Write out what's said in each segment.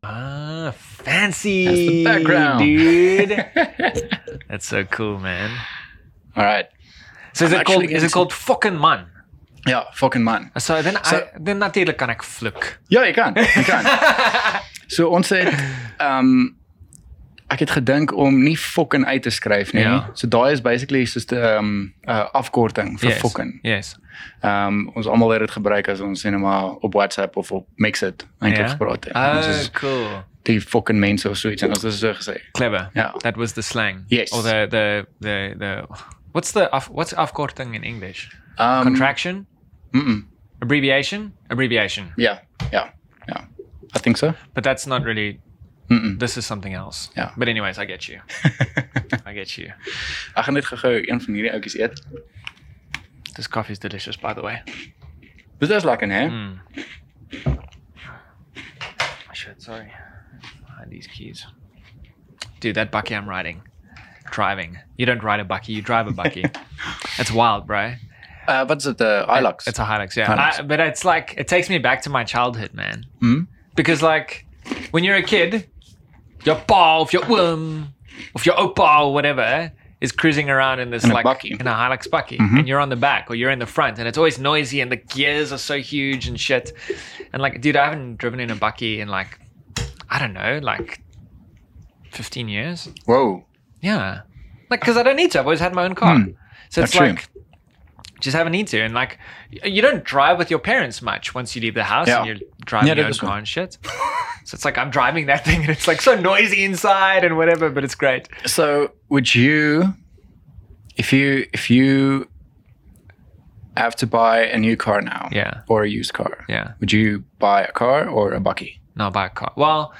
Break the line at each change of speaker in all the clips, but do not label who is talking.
Ah, fancy.
That's the background.
dude. That's so cool, man.
All right.
So is
I'm
it called
actually
is it
into-
called fucking man?
Ja, fucking man.
So dan
So-
I, dan natuurlijk kan ik fluk.
Ja, je kan. Je kan. so ons het ehm ek het gedink om nie fucking uit te skryf nie.
Ja.
So daai is basically soos 'n ehm 'n afkorting vir
Yes,
fucking.
Yes.
Ehm ons almal het dit gebruik as ons sê nou maar op WhatsApp of op Mixit eintlik
Ja?
gepraat het. Ons
Oh,
is
cool.
die fucking mense of so iets en ons het so gesê.
Clever.
Ja.
That was the slang.
Yes.
Or the the the, the what's the af, what's afkorting in English?
Um,
Contraction?
Mm -mm.
Abbreviation? Abbreviation.
Ja, ja, ja. I think so.
But that's not really
Mm -mm.
this is something else.
Ja.
But anyways, I get you. I get you.
Ek gaan net gou-gou een van hierdie ouetjies eet.
This coffee is delicious by the way.
Dit is lekker, hè?
Mm. Oh, shit, sorry. Hide these keys. Dude, that bucky I'm riding. Driving. You don't ride a bucky, you drive a bucky. That's wild, bro.
Uh wat is dit? Uh, Hilux.
It's a Hilux, yeah.
Hilux.
I- but it's like, it takes me back to my childhood, man.
Hmm?
Because, like, when you're a kid, your pa, of your um, of your opa, or whatever, is cruising around in this,
In a
like,
bucky.
in a Hilux bucky,
Mhm.
and you're on the back or you're in the front, and it's always noisy, and the gears are so huge and shit. And, like, dude, I haven't driven in a bucky in, like, I don't know, like 15 years.
Wow.
Yeah. Like, because I don't need to. I've always had my own car.
Hmm.
So it's
That's true.
like, just haven't need to. And like, y- you don't drive with your parents much once you leave the house
Yeah.
and you're driving
Yeah, that
your own
is
car
true.
and shit. so it's like, I'm driving that thing and it's like so noisy inside and whatever, but it's great.
So would you if you if you have to buy a new car now
Yeah.
or a used car?
Yeah.
Would you buy a car or a bucky?
No, buy a car. Well,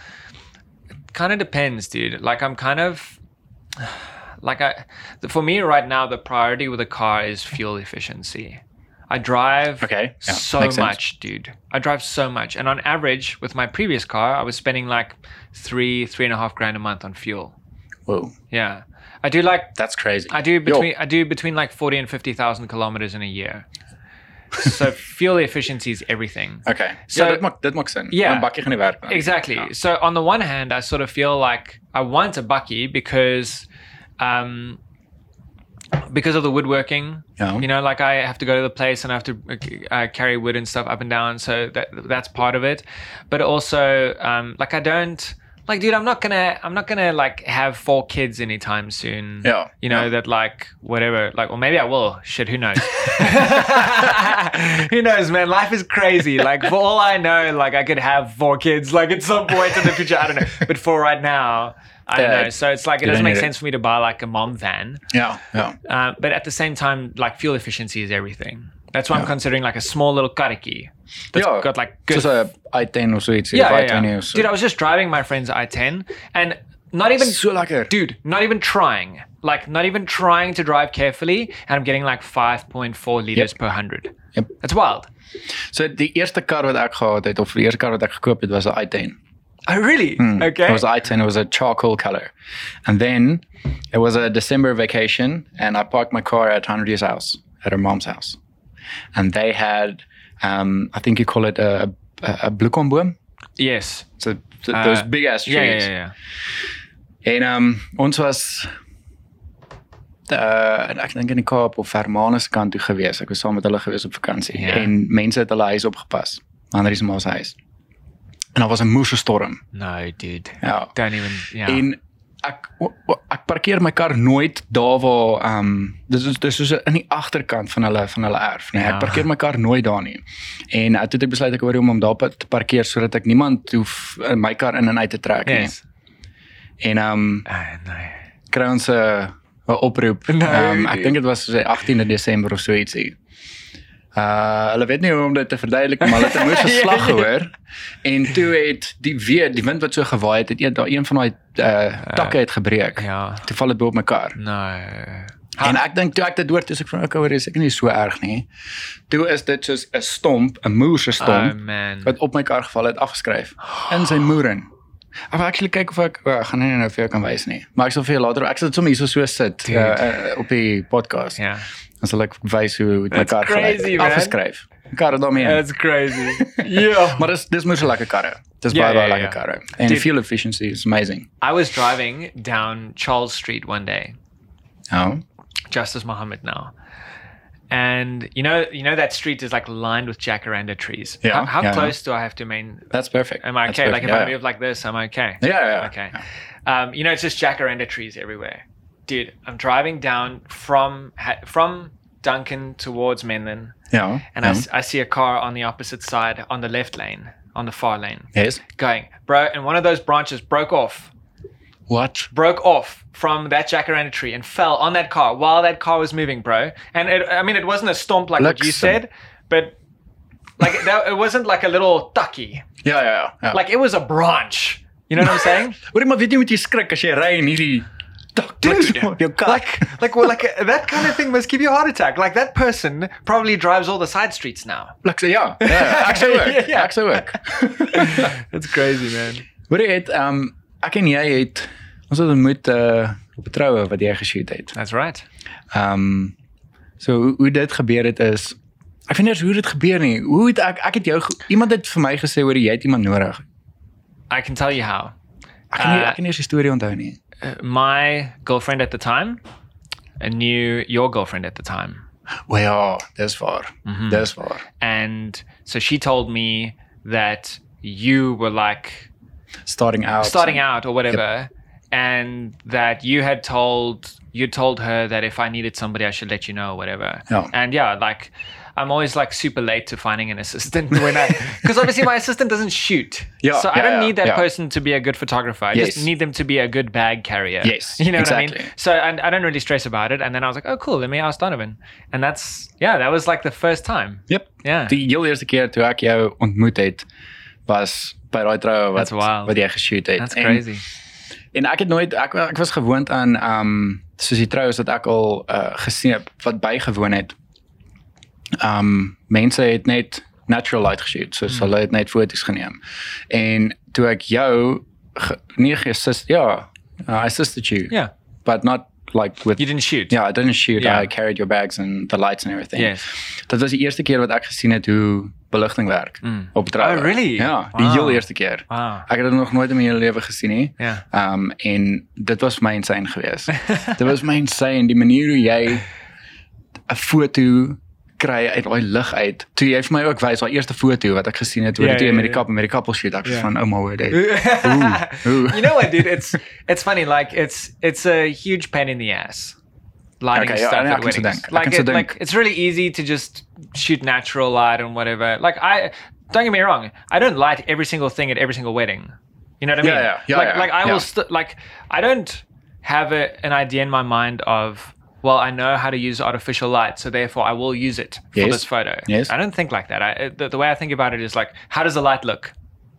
it kind of depends, dude. Like, I'm kind of. Like I, for me right now, the priority with a car is fuel efficiency. I drive
Okay. yeah,
so
makes sense.
much, dude. I drive so much, and on average, with my previous car, I was spending like three, three and a half grand a month on fuel.
Whoa.
Yeah, I do like
That's crazy.
I do
Yo,
between I do between like forty and fifty thousand kilometers in a year. So fuel efficiency is everything.
Okay.
So-
ja, dit maak dit maak sin.
Yeah.
Want 'n bakkie gaan nie werk nie.
Exactly. So on the one hand, I sort of feel like I want a bucky because, um, because of the woodworking.
Yeah.
You know, like I have to go to the place and I have to uh, carry wood and stuff up and down. So that that's part of it. But also, um, like I don't like, dude. I'm not gonna. I'm not gonna like have four kids anytime soon.
Yeah.
You know
Yeah.
that like whatever. Like, or maybe I will. Shit. Who knows? Who knows, man? Life is crazy. Like, for all I know, like I could have four kids, like at some point in the future. I don't know. But for right now, I don't
Yeah.
know. So it's like it
You
doesn't
don't
make
need it.
sense for me to buy like a mom van.
Ja, ja.
Uh, but at the same time, like fuel efficiency is everything. That's why I'm
Yeah.
considering like a small little kariki that's
Ja,
got like good.
Soos 'n i10 of so iets,
yeah,
of
yeah,
i20
yeah.
of so.
Dude, I was just driving my friend's i10 and not even
so lekker.
dude, not even trying. Like, not even trying to drive carefully, and I'm getting like 5.4 liters per 100.
Yep.
That's wild.
So die eerste kar wat ek gehad het of die eerste kar wat ek gekoop het was 'n i10.
Oh, really? Okay.
Mm. It Hmm. was i10. It was a charcoal color, and then it was a December vacation, and I parked my car at Henry's house, at her mom's house, and they had, um, I think you call it a a, a bloekomboom.
yes.
So th- those
Uh,
big ass trees.
Yeah, yeah, yeah, yeah.
En um, ons was uh, ek dink in die Kaap of Hermanus kant toe gewees. Ek was saam met hulle gewees op vakansie
Ja.
en mense het hulle huis opgepas. Henry se ma se huis. En daar was 'n moesestorm.
No, dude.
Ja.
Don't even. Yeah.
En ek o- o- ek parkeer my kar nooit daar waar ehm um, dis is dis is in die agterkant van hulle van hulle erf, nee.
Ja.
Ek parkeer my kar nooit daar nie. En uh, toe het ek besluit ek hoor om hom daar pa- te parkeer sodat ek niemand hoef uh, my kar in en uit te trek
yes.
nie. En ehm um,
Oh, no.
kry ons 'n 'n oproep.
Nee,
Ehm, ek
nee.
dink dit was so 18de Desember of so ietsie. Uh hulle weet nie hoe om dit te verduidelik maar hulle het 'n moeë
Ja,
slag
ja.
gehoor en toe het die weer die wind wat so gewaai het het een daai een van daai uh takke het gebreek.
Ja.
Toe val dit bo op mekaar.
No.
En ek dink toe ek dit hoor, toe is ek van okay, hoor, is ek nie so erg nie. Toe is dit soos 'n stomp, 'n moerse
Oh
stomp
man.
wat op my kar geval het afgeskryf in sy moeren. Ek wil actually kyk of ek oh, ek gaan nie nou vir jou kan wys nie. Maar ek sal vir jou later ek sal dit sommer hierso so sit
Dude.
uh, uh, op die podcast.
yeah.
Dan sal ek wys hoe het my
That's
kar gelyk
crazy,
het.
man.
afgeskryf. karre dan mee in.
That's crazy. yeah.
maar dus, dus moet je lekker karren. Dus
Ja,
blijkbaar
ja, ja,
lekker
ja.
karren. En de
Dude.
fuel efficiency is amazing.
I was driving down Charles Street one day,
Oh,
just as Muhammad now. And you know, you know that street is like lined with jacaranda trees.
Yeah,
How, how
yeah.
close do I have to main?
that's perfect.
Am I
That's
okay? Like
perfect.
if
yeah.
I move like this, I'm okay.
Yeah, yeah, yeah.
Okay. Um, you know, it's just jacaranda trees everywhere. Dude, I'm driving down from ha- from Duncan towards Menlyn,
Yeah.
and I
yeah.
s I I see a car on the opposite side, on the left lane, on the far lane,
Yes.
going, bro. And one of those branches broke off
What?
broke off from that jacaranda tree and fell on that car while that car was moving, bro. And it, I mean, it wasn't a stomp like what you
Luxon.
said, but like that, it wasn't like a little tucky.
Ja, ja, ja. ja.
Like it was a branch. You know what I'm saying?
Hoor je, maar weet je met die schrik als je rijdt in hierdie...
Dude,
Je kak.
like, like, well, like uh, that kind of thing must give you a heart attack. Like that person probably drives all the side streets now.
Like, zo, ja, ja, ja, ek sou ook.
Ja, ja.
Ek sou ook.
That's crazy, man.
Hoor jy het ehm ek en jy het ons het ontmoet uh op 'n troue wat jy geshoot het.
That's right.
Ehm so hoe, hoe dit gebeur het is ek weet nie eens hoe dit gebeur nie. Hoe het ek ek het jou ge- iemand het vir my gesê hoor jy het iemand nodig.
I can tell you how.
Ek kan nie
Uh,
ek kan nie eens die storie onthou nie.
Uh, My girlfriend at the time uh, knew your girlfriend at the time.
O ja, dis waar. Dis waar.
and so she told me that you were like
Starting out.
starting out or whatever and that you had told you told her that if i needed somebody i should let you know or whatever
Yeah.
and yeah like i'm always like super late to finding an assistant when i because obviously my assistant doesn't shoot
Yeah,
so i
yeah,
don't
yeah,
need that
yeah.
person to be a good photographer i
Yes.
just need them to be a good bag carrier
Yes,
you know what i
exactly.
mean so and i don't really stress about it and then i was like oh cool let me ask donovan and that's yeah that was like the first time
Yep.
yeah
Die heel eerste keer toe ek jou ontmoet het was by daai troue wat
That's wild.
wat jy geshoot het.
that's
En-
crazy
En ek het nooit ek, wa- ek was gewoond aan um soos die troues wat ek al uh, gesien het wat bygewoon het. Um mense het net natural light geshoot, soos
Hmm.
hulle het net foto's geneem. En toe ek jou ge, nie geassist ja, uh, I assisted you.
Yeah.
But not like with
Ja. You didn't shoot.
Yeah, I didn't shoot.
Yeah.
I carried your bags and the lights and everything.
Yes.
Dit was die eerste keer wat ek gesien het hoe beligting werk
Mm.
op troue.
Oh, really?
Ja, die
Wow.
heel eerste keer.
Wow.
Ek het dit nog nooit in my hele lewe gesien nie.
Ja.
Ehm um, en dit was my insane geweest. dit was my insane die manier hoe jy 'n foto kry uit daai lig uit. Toe jy vir my ook wys daai eerste foto wat ek gesien het oor
Ja,
yeah, toe
ja,
jy met die
ja.
kap met die kappel shoot. Ek was
Ja.
van oh my word. hey. ooh.
you know what, dude? It's it's funny. Like it's it's a huge pain in the ass. Lighting
Okay, yeah,
stuff
I
at
can see
weddings.
that. I
Like,
can see
it,
that.
like it's really easy to just shoot natural light and whatever. Like I don't get me wrong, I don't light every single thing at every single wedding. You know what I
Yeah,
mean?
yeah, yeah,
like
yeah,
like I
yeah.
will st- like I don't have a, an idea in my mind of well, I know how to use artificial light, so therefore I will use it for
Yes.
this photo.
Yes.
I don't think like that. I, the, the way I think about it is like, how does the light look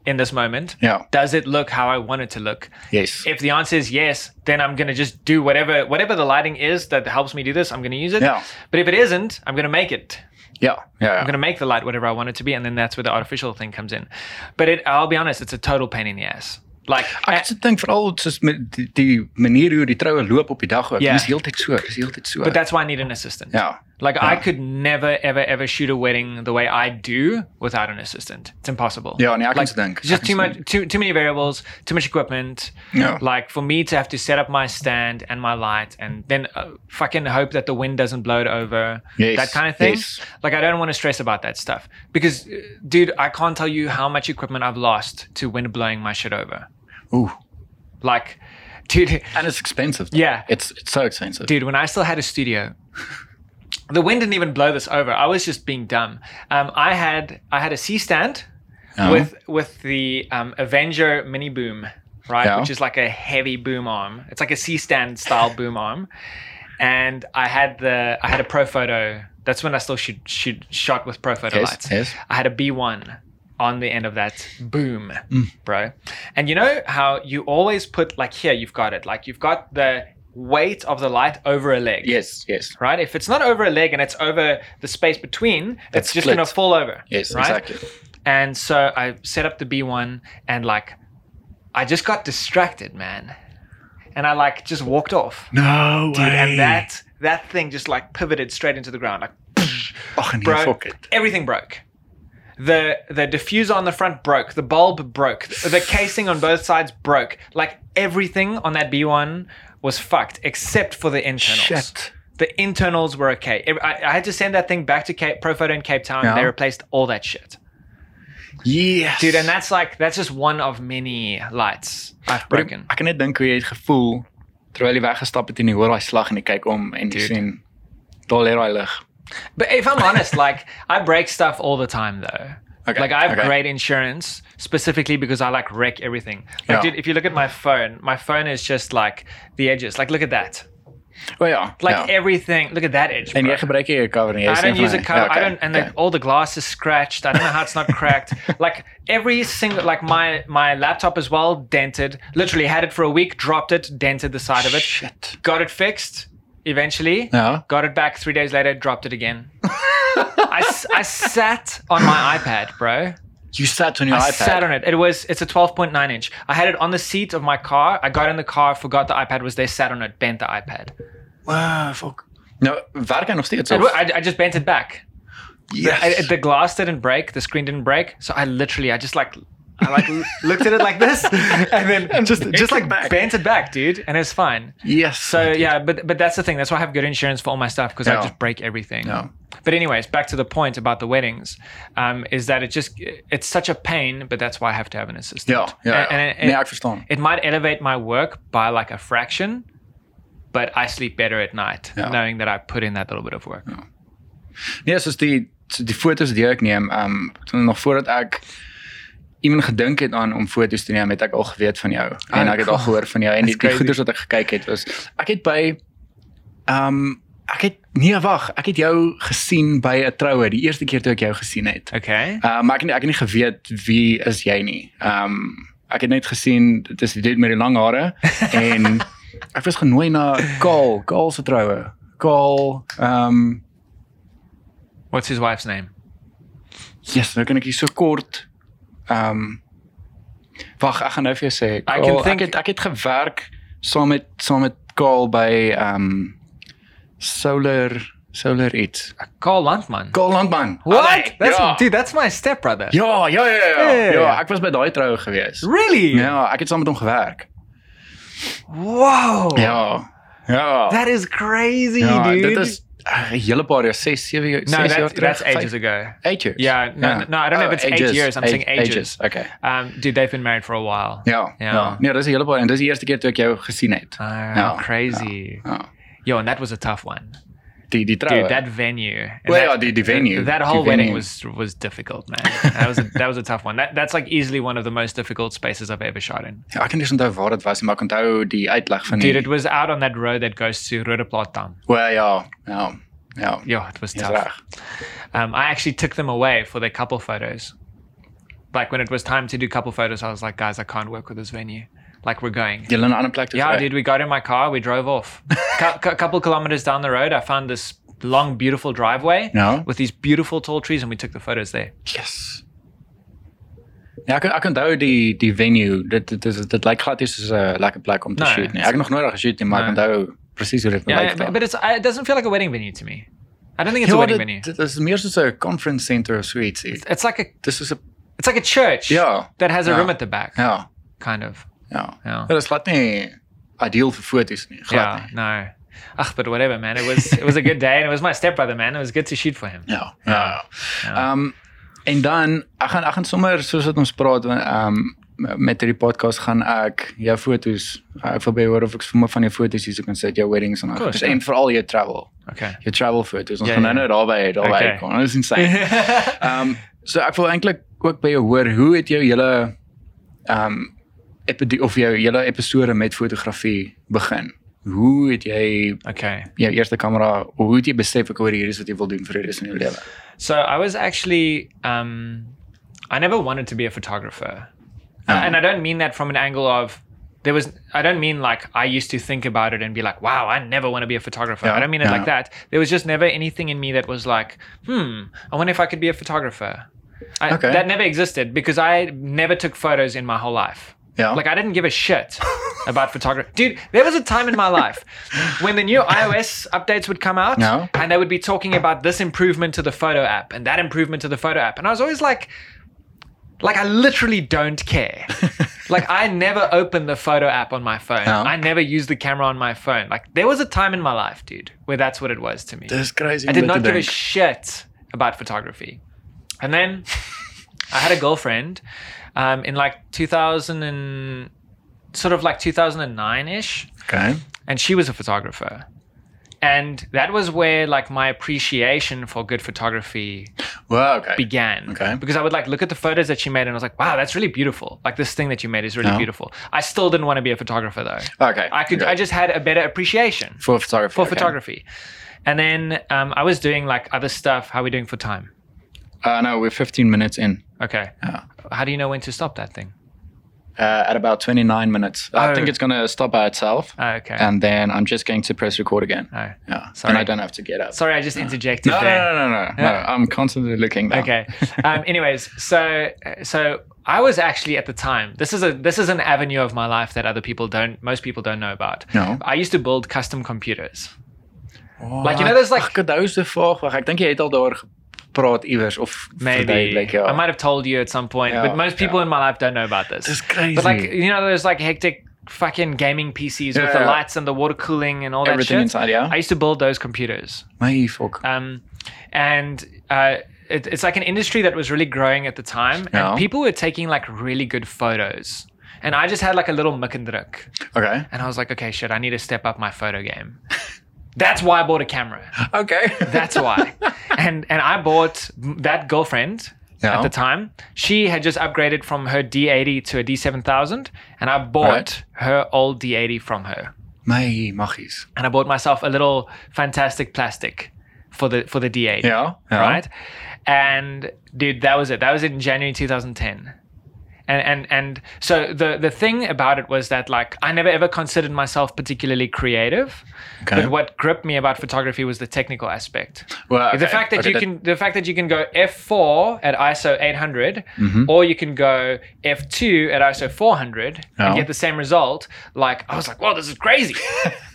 in this moment?
Ja.
does it look how I want it to look?
Yes.
If the answer is yes, then I'm gonna just do whatever whatever the lighting is that helps me do this. I'm gonna use it.
Yeah.
But if it isn't, I'm gonna make it.
Ja, ja.
I'm
ja.
gonna make the light whatever I want it to be, and then that's where the artificial thing comes in. But it, I'll be honest, it's a total pain in the ass. Like,
Ek sit dink veral soos met die, die manier hoe die troue loop op die dag ook.
Ja.
Yeah. Dis heeltyd so, dis heeltyd so.
but that's why I need an assistant.
Ja.
Like I could never, ever, ever shoot a wedding the way I do without an assistant. It's impossible.
Ja, nee, ek kan
like,
se dink.
It's
Ek
just
kan
too
se
much,
dink.
too too many variables, too much equipment.
Ja.
Like for me to have to set up my stand and my light, and then uh, fucking hope that the wind doesn't blow it over.
Yes,
That kind of thing.
yes.
Like I don't want to stress about that stuff because, uh, dude, I can't tell you how much equipment I've lost to wind blowing my shit over.
Ooh.
Like, dude,
And it's expensive.
Yeah.
It's it's so expensive.
dude when i still had a studio the wind didn't even blow this over i was just being dumb um, i had i had a c-stand
Ja.
with with the um, avenger mini boom right
Yeah.
which is like a heavy boom arm it's like a c-stand style boom arm and i had the i had a pro photo that's when i still shoot, shoot shot with pro photo
Yes,
lights
yes.
i had a b1 on the end of that boom
Mm.
bro and you know how you always put like here you've got it like you've got the weight of the light over a leg
Yes, yes.
right? If it's not over a leg and it's over the space between,
That's
it's just
split.
going to fall over.
Yes,
right?
exactly.
And so I set up the B1 and like, I just got distracted, man. And I like just walked off.
No
Dude, and that that thing just like pivoted straight into the ground, like
Och, and
broke.
he fuck it.
Everything broke. The the diffuser on the front broke. The bulb broke. The casing on both sides broke. Like everything on that B1 was fucked except for the internals.
Shit.
The internals were okay. Ev- I, I had to send that thing back to Cape Profoto in Cape Town.
Yeah.
They replaced all that shit,
Yes.
dude. And that's like that's just one of many lights I've
Maar
broken.
Ek, ek kan net dink hoe jy het gevoel terwyl jy weggestap het en jy hoor daai slag en jy kyk om en jy
Dude.
sien daar lê daai lig.
But if I'm honest, like I break stuff all the time though.
Okay,
Like I have
okay.
great insurance specifically because I like wreck everything. Like
Yeah.
dude, if you look at my phone, my phone is just like the edges. Like look at that.
O Oh ja.
Like
ja.
everything. Look at that edge.
en
bro.
jy gebruik hier 'n cover en jy
I
sê
don't
vir
use
my-
a cover.
Ja, okay,
I don't, and
okay.
like all the glass is scratched. I don't know how it's not cracked. like every single, like my my laptop as well, dented. Literally had it for a week, dropped it, dented the side of it,
Shit.
got it fixed eventually.
Ja.
Got it back three days later, dropped it again. I, s- I sat on my iPad, bro.
You sat on your
I
iPad.
sat on it. It was it's a 12.9 inch. I had it on the seat of my car. I got in the car, forgot the iPad was there, sat on it, bent the iPad.
Wow, fuck. Nou, werk hy nog steeds
It
of?
wa- I, I just bent it back. I,
Yes.
the glass didn't break, the screen didn't break, so I literally I just like I like l- looked at it like this and then
And just- just like back.
bent it back, dude, and it's fine.
Yes. Ja,
So yeah, but but that's the thing. That's why I have good insurance for all my stuff because
Yeah.
I just break everything.
No.
But anyways, back to the point about the weddings, um, is that it just it's such a pain, but that's why I have to have an assistant.
Ja, ja. ja.
And- and- and-
nee, ek verstaan.
it might elevate my work by like a fraction, but I sleep better at night
Yeah.
knowing that I put in that little bit of work.
Nee, soos die so die fotos wat ek neem, ehm um, nog voordat ek iemand gedink het aan om fotos te neem, het ek al geweet van jou. En
Ah,
ek het al
cool.
gehoor van jou en die,
That's
die
crazy.
goeders wat ek gekyk het was ek het by ehm um, ek het nee, wag, ek het jou gesien by 'n troue, die eerste keer toe ek jou gesien het.
Okay.
Uh, maar ek het nie- ek het nie geweet wie is jy nie. Ehm um, ek het net gesien dit is die dude met die lang hare en ek was genooi na Kaal, Kaal se troue. Kaal ehm um,
What's his wife's name?
Yes, nou kan ek hier so kort ehm um, wag, ek gaan nou vir jou sê.
can
Kaal,
think-
ek het ek het gewerk saam met saam met Kaal by ehm um, Solar Solar iets.
Carl Landman.
Kaal Landman.
What? That's
ja.
dude, that's my stepbrother.
Ja, ja, ja, ja.
Ja, ja,
Ja,
ja.
ek was by daai troue gewees.
Really?
Ja, ek het saam met hom gewerk.
Whoa.
Ja. Ja.
That is crazy,
ja,
dude. Nou,
dit is uh, 'n hele paar jaar, 6, 7 jaar,
no,
6
that-
jaar
that's
terug,
ages
vyf-
ago.
Eight years.
Yeah, no,
Ja.
no, I don't know if it's eight years, I'm
age-
saying ages.
Okay.
Um, dude, they've been married for a while.
Ja.
Ja.
Ja. Nee, dis 'n hele paar en dis die eerste keer toe ek jou gesien het.
Oh,
Ja,
crazy.
Ja.
Yo, and that was a tough one.
Die Oh die
Dude,
troue.
that venue. and
Well,
that-
yeah, the- the venue,
That
the
whole wedding
venue.
was was difficult, man. That was a, that was a tough one. That that's like easily one of the most difficult spaces I've ever shot in.
Ja, ek kan nie eens onthou waar dit was nie, maar ek onthou die uitleg van
Dude,
die
it was out on that road that goes to Rodeplatam.
Wel ja. Ja. Ja.
Yeah, it was
Dis
tough.
reg.
Um, I actually took them away for their couple photos. Like when it was time to do couple photos, I was like, guys, I can't work with this venue. Like we're going.
Jy lê 'n ander plek toe.
Yeah,
kry.
dude, we got in my car, we drove off. A couple kilometers down the road, I found this long, beautiful driveway
Ja.
with these beautiful tall trees, and we took the photos there.
Yes. Ja, ek ek onthou die die venue. Dit dit is dit lyk glad nie soos 'n lekker plek om te
Nee.
shoot nie. Ek het nog nooit daar geshoot nie, maar ek
Nee. Ja,
onthou presies hoe dit
Yeah,
lyk.
but,
daar.
but it's, I- it doesn't feel like a wedding venue to me. I don't think it's a
Ja,
wedding
dit-
venue.
Dit is meer soos 'n conference center of so ietsie.
It's like a
Dis is 'n
it's like a church
ja,
that has a
Yeah.
room at the back,
ja,
kind of.
ja.
Yeah.
Dit is glad nie ideaal vir foto's nie, glad
Yeah,
nie.
no. Ugh, but whatever, man. It was it was a good day, and it was my stepbrother, man. It was good to shoot for him.
Ja. Ja.
Yeah.
Ehm en dan ek gaan ek gaan sommer soos wat ons praat want, ehm met hierdie podcast gaan ek jou foto's ek wil by hoor of ek sommer van jou foto's hier so kan sit jou weddings en
course,
alles
ja.
en veral jou travel.
okay.
jou travel foto's. Ons
Ja,
gaan nou
ja.
nou daarby daarby
Okay.
uitkom. Dit is insane. Ehm um, so ek wil eintlik ook by jou hoor hoe het jou hele ehm um, epi- of jou hele episode met fotografie begin? Hoe het jy
okay.
jou eerste kamera of hoe het jy besef ek oor hierdie is wat jy wil doen vir die res van jou lewe?
So I was actually, um, I never wanted to be a photographer. Uh, and I don't mean that from an angle of there was. I don't mean like I used to think about it and be like, "Wow, I never want to be a photographer."
Yeah,
I don't mean it
yeah.
like that. There was just never anything in me that was like, "Hmm, I wonder if I could be a photographer." I,
Okay.
That never existed because I never took photos in my whole life.
Ja.
Like I didn't give a shit. about photography. Dude, there was a time in my life when the new iOS updates would come out
No.
and they would be talking about this improvement to the photo app and that improvement to the photo app. And I was always like, like I literally don't care. like I never open the photo app on my phone.
No.
I never use the camera on my phone. Like there was a time in my life, dude, where that's what it was to me.
That's crazy.
I did not give a shit about photography. And then I had a girlfriend um, in like 2000 and sort of like 2009 ish,
okay.
and she was a photographer. And that was where like my appreciation for good photography
Well, okay.
began.
Okay.
Because I would like look at the photos that she made and I was like, wow, that's really beautiful. Like this thing that you made is really
Yeah. Uh,
beautiful. I still didn't want to be a photographer though.
okay.
I could
okay.
I just had a better appreciation
for photography.
for
okay.
photography. And then um, I was doing like other stuff. How are we doing for time?
Uh, no, we're 15 minutes in.
Okay.
Yeah.
How do you know when to stop that thing?
Uh, at about 29 minutes.
Oh.
I think it's gonna stop by itself,
Oh, okay.
and then I'm just going to press record again.
Oh.
Yeah.
Sorry.
And I don't have to get up.
Sorry, I just interjected
No, no,
there.
no, no, no, no.
Yeah.
I'm constantly looking. Down.
Okay. Um, anyways, so so I was actually at the time. This is a this is an avenue of my life that other people don't. Most people don't know about.
No.
I used to build custom computers. Like, you know, there's like-
Ach, ik duizend ervoor. Wacht, ik denk je het al door gepraat iwers of
Maybe
verduidelijk, ja.
I might have told you at some point,
Yeah,
but most people
yeah.
in my life don't know about this.
This is crazy.
But like you know, there's like hectic fucking gaming PCs with
Yeah,
the
yeah.
lights and the water cooling and all that
everything
shit.
inside, yeah.
I used to build those computers.
My fuck.
Um, and uh, it, it's like an industry that was really growing at the time,
Yeah.
and people were taking like really good photos. And I just had like a little mukendruk,
Okay.
and I was like, okay, shit, I need to step up my photo game. That's why I bought a camera.
Okay.
That's why. and and I bought that girlfriend
Yeah.
at the time. She had just upgraded from her D80 to a D7000, and I bought
Right.
her old D80 from her.
My magisch.
And I bought myself a little fantastic plastic for the for the D80.
Yeah. yeah.
Right? And dude, that was it. That was in January 2010. And, and and so the the thing about it was that like I never ever considered myself particularly creative,
Okay.
but what gripped me about photography was the technical aspect.
Well, okay,
The fact that
okay,
you can the fact that you can go F4 at ISO 800
Mm-hmm.
or you can go F2 at ISO 400 and
Oh.
get the same result like I was like wow this is crazy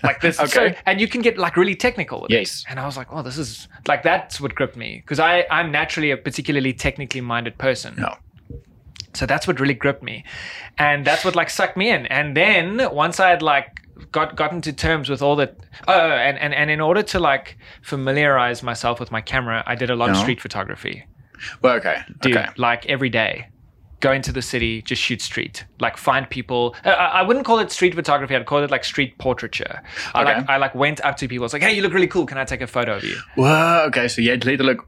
like this is so,
Okay.
and you can get like really technical with it.
Yes.
and I was like oh this is like that's what gripped me because I I'm naturally a particularly technically minded person
No.
so that's what really gripped me and that's what like sucked me in and then once i had like got gotten to terms with all the oh and and, and in order to like familiarize myself with my camera i did a lot of
Yeah.
street photography
Well, okay.
dude
Okay.
like every day go into the city just shoot street like find people I, I I wouldn't call it street photography i'd call it like street portraiture i
Okay.
like i like went up to people I was like hey you look really cool can i take a photo of you
Wow, okay. So jij had letterlijk.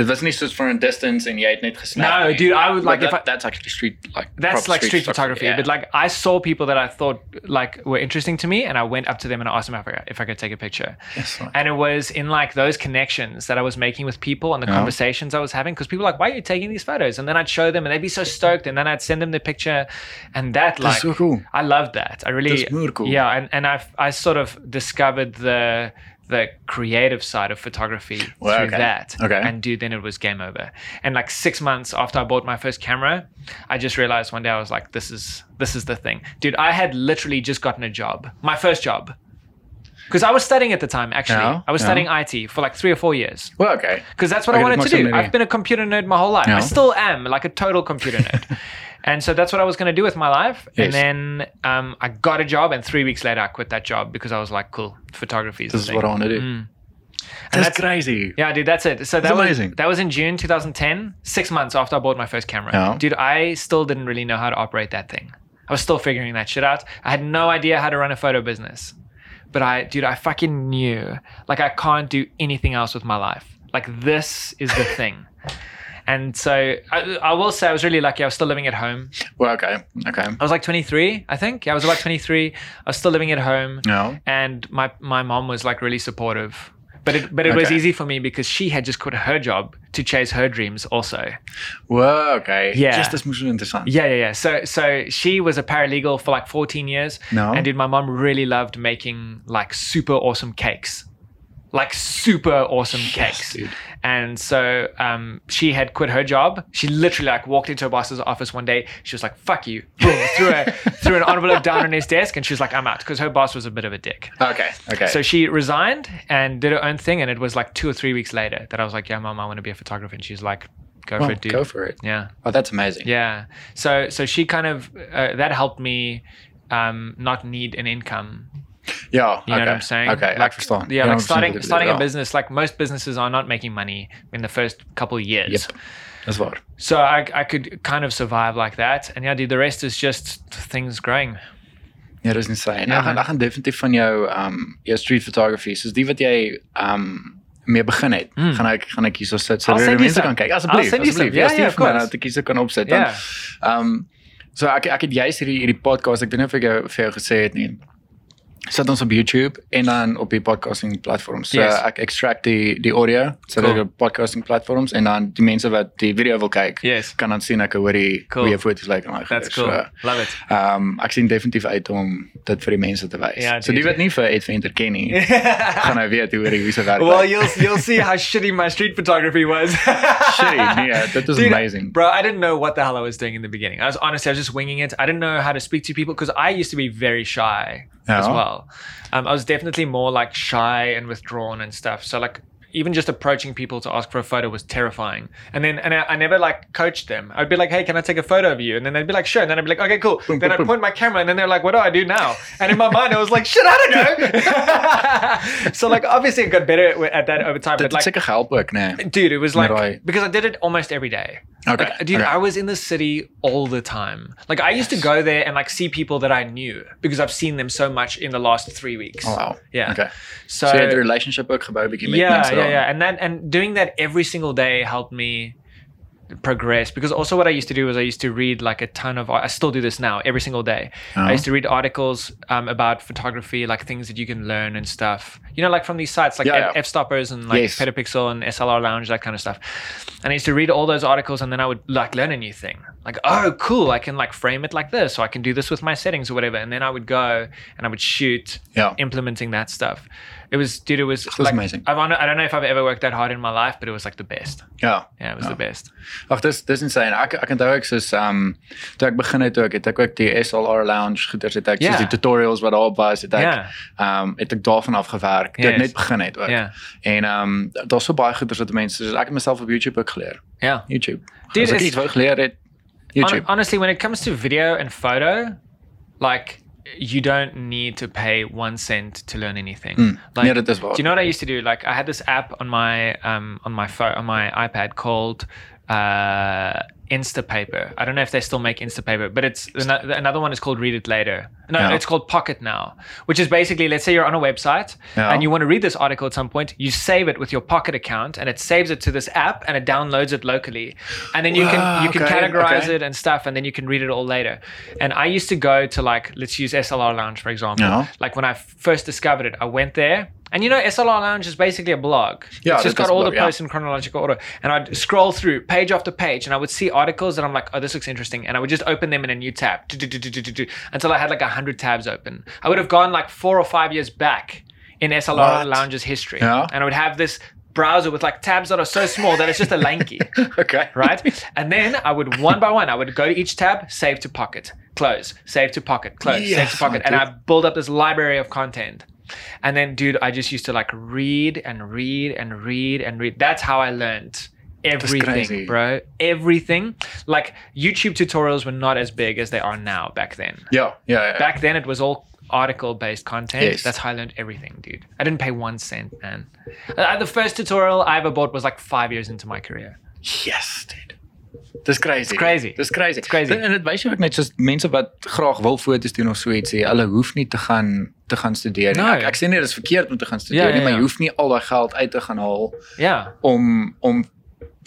Dit was niet zoiets voor een distance en jij had niet gesnapt.
No, dude, I would
But
like if
that-
I-
That's actually street. Like,
that's
proper
like street, photography,
photography, yeah.
but like I saw people that I thought like were interesting to me, and I went up to them and I asked them if I, if I could take a picture.
Yes, right.
And it was in like those connections that I was making with people and
Uh-huh.
the conversations I was having because people were like, why are you taking these photos? And then I'd show them and they'd be so stoked, and then I'd send them the picture, and that like
That's so cool.
I loved that. I really
That's mooi cool.
yeah, and and I I sort of discovered the the creative side of photography
Well,
through
okay.
that.
Okay.
And dude, then it was game over. And like six months after I bought my first camera, I just realized one day I was like, this is this is the thing. Dude, I had literally just gotten a job. My first job. Because I was studying at the time, actually.
Yeah,
I was
yeah.
studying IT for like three or four years.
Well, okay.
Because that's what
Okay,
I wanted
that
to
makes
do.
sense, maybe.
I've been a computer nerd my whole life. I
Yeah.
still am, like a total computer nerd. and so that's what I was going to do with my life.
Yes.
And then um, I got a job, and three weeks later, I quit that job because I was like, cool, photography is the
This is
thing.
what I want to do.
Mm. that's-
That's crazy.
Yeah, dude, that's it. So that
That's
was
amazing.
that was in June 2010, six months after I bought my first camera.
Yeah.
Dude, I still didn't really know how to operate that thing. I was still figuring that shit out. I had no idea how to run a photo business. But I, dude, I fucking knew. Like, I can't do anything else with my life. Like, this is the thing. And so I, I will say I was really lucky. I was still living at home.
Well, okay. Okay.
I was like 23, I think. Yeah, I was about 23. I was still living at home
No.
and my my mom was like really supportive. But it but it was
Okay.
easy for me because she had just quit her job to chase her dreams also.
Well, okay.
Yeah.
Just dat moest zo interessant.
Yeah, yeah, yeah. So so she was a paralegal for like 14 years.
No.
And dude, my mom really loved making like super awesome cakes. like super awesome cakes.
dude.
and so um, she had quit her job. She literally like walked into her boss's office one day. She was like, "Fuck you!" Boom, threw a, threw an envelope down on his desk, and she was like, "I'm out," because her boss was a bit of a dick.
Okay. Okay.
So she resigned and did her own thing, and it was like two or three weeks later that I was like, "Yeah, mom, I want to be a photographer," and she's like, "Go
Oh,
for it, dude."
go for it.
yeah,
Oh, that's amazing.
yeah. So so she kind of uh, that helped me um, not need an income you
Yeah.
know
okay.
what I'm saying?
Okay.
Like,
I understand.
yeah,
I
like
understand
starting
completely.
starting a
Yeah.
business, like most businesses are not making money in the first couple of years.
Yep. That's what.
So I, I could kind of survive like that. And yeah, dude, the rest is just things growing.
Ja, dat is insane.
Ja,
Ja, gaan,
man.
daar gaan definitief van jou ehm jou street photography, soos die wat jy ehm mee begin het,
Mm.
gaan ek gaan ek hierso sit
I'll
sodat
send
die
you
mense
some.
kan kyk.
I'll
Asseblief,
send you some.
asseblief.
Ja,
Ja,
ja,
stuur
of
vir my
course.
dat ek hierso kan opsit dan.
Yeah.
Ehm so ek ek het juist hierdie hierdie podcast, ek weet nie of ek jou vir jou gesê het nie. Sit ons op YouTube en dan op die podcasting platforms. So
Yes.
ek extract die die audio, so
Cool.
cool. op podcasting platforms en dan die mense wat die video wil kyk,
Yes.
kan dan sien ek hoe die
Cool.
hoe jou foto's lyk en daai
That's
goeie.
cool.
So,
Love it.
Ehm ek sien definitief uit om dit vir die mense te wys.
Ja,
so die
dude.
wat nie vir Adventure ken nie, gaan nou weet hoe hoe se werk.
Well, you'll you'll see how shitty my street photography was.
Shitty, nee, that was
Dude,
amazing.
bro. I didn't know what the hell I was doing in the beginning. I was honestly, I was just winging it. I didn't know how to speak to people because I used to be very shy as
Ja.
well. Um, I was definitely more like shy and withdrawn and stuff. So like. Even just approaching people to ask for a photo was terrifying, and then and I, I never like coached them. I'd be like, "Hey, can I take a photo of you?" And then they'd be like, "Sure." And then I'd be like, "Okay, cool." then
boom,
I'd
boom.
point my camera, and then they're like, "What do I do now?" And in my mind, I was like, "Shit, I don't know." so like, obviously, it got better at- at that over time.
dit
But
like,
like,
seker help ook, nee.
dude it was
Met
like
daai-
because i did it almost every day
Okay.
like dude
okay.
i was in the city all the time like i used to go there and like see people that i knew because i've seen them so much in the last three weeks
oh, wow.
yeah
Okay.
Ja. so, Ja,
So, so jy het 'n relationship ook gebou bietjie met
yeah
mense.
yeah
daar.
yeah and that and doing that every single day helped me progress because also what i used to do was i used to read like a ton of i still do this now every single day
Uh-huh.
i used to read articles um, about photography like things that you can learn and stuff you know like from these sites like
Yeah, yeah.
f stoppers and like
Yes.
petapixel and slr lounge that kind of stuff and i used to read all those articles and then i would like learn a new thing like oh cool i can like frame it like this or i can do this with my settings or whatever and then i would go and i would shoot
Yeah.
implementing that stuff it was dude it was
was
like,
amazing.
I've, hon- I don't know if I've ever worked that hard in my life, but it was like the best.
Ja.
Yeah, it was the best.
Ag dis dis insane. Ek ek onthou ek soos ehm um, toe ek begin het ook, het ek ook die SLR lounge goeders het ek
Ja.
soos die tutorials wat daar op was, het ek ehm
Ja.
um, het ek daarvan af gewerk. Toe
Yes.
ek net begin het ook.
Ja.
En ehm um, daar's so baie goeders wat mense soos ek het myself op YouTube ook geleer.
Yeah.
YouTube.
Dude,
As ek
it's-
iets wou geleer het
Hon-
YouTube.
honestly, when it comes to video and photo, like you don't need to pay one cent to learn anything.
Hmm.
Like,
Yeah, that Nee, is what-
Do you know what I used to do? Like I had this app on my um on my phone on my iPad called uh Instapaper. I don't know if they still make Instapaper, but it's ano- another one is called Read It Later. No,
Yeah.
it's called Pocket now, which is basically let's say you're on a website
Yeah.
and you want to read this article at some point, you save it with your Pocket account and it saves it to this app and it downloads it locally. And then you
Wow,
can you can
okay,
categorize
okay.
it and stuff, and then you can read it all later. And I used to go to like, let's use SLR Lounge for example.
Yeah.
Like when I first discovered it, I went there, and you know, SLR Lounge is basically a blog.
Yeah,
it's just
that is
got
a
all
blog,
the
yeah.
posts in chronological order, and I'd scroll through page after page, and I would see articles that I'm like, oh, this looks interesting, and I would just open them in a new tab do-do-do-do-do-do, until I had like a hundred tabs open. I would have gone like four or five years back in SLR
What?
Lounge's history,
Yeah.
and I would have this browser with like tabs that are so small that it's just a lanky
okay.
right? And then I would one by one, I would go to each tab, save to pocket, close, save to pocket, close, save to
Yes,
pocket,
my
and
dude.
I build up this library of content. And then, dude, I just used to like read and read and read and read. That's how I learned everything,
crazy.
bro. Everything. Like YouTube tutorials were not as big as they are now back then.
Yeah, yeah, yeah.
Back then, it was all article based content.
Yes.
That's how I learned everything, dude. I didn't pay one cent, man. Uh, the first tutorial I ever bought was like five years into my career.
Yes, dude. Dis crazy.
crazy.
Dis crazy. Dis
crazy.
En dit wys jou ook net soos mense wat graag wil foto's doen of so ietsie, hulle hoef nie te gaan te gaan studeer nie.
No.
Ek, ek sê nie dis verkeerd om te gaan studeer
Nee. Ja, ja,
nie, maar
ja.
jy hoef nie al daai geld uit te gaan haal
Yeah.
om om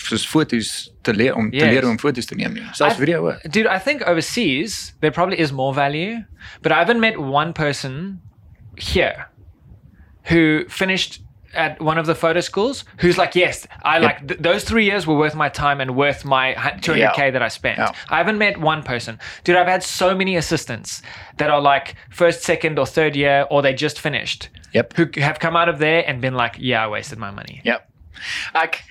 soos foto's te leer om
Yes.
te leer om foto's te neem nie. Selfs
I've-
video ook.
dude i think overseas there probably is more value but i haven't met one person here who finished at one of the photo schools who's like, yes, I like th- those three years were worth my time and worth my hun- 200k
Yeah.
that I spent.
Yeah.
I haven't met one person, dude. I've had so many assistants that are like first, second, or third year, or they just finished.
Yep.
Who c- have come out of there and been like, yeah, I wasted my money.
Yep. Ek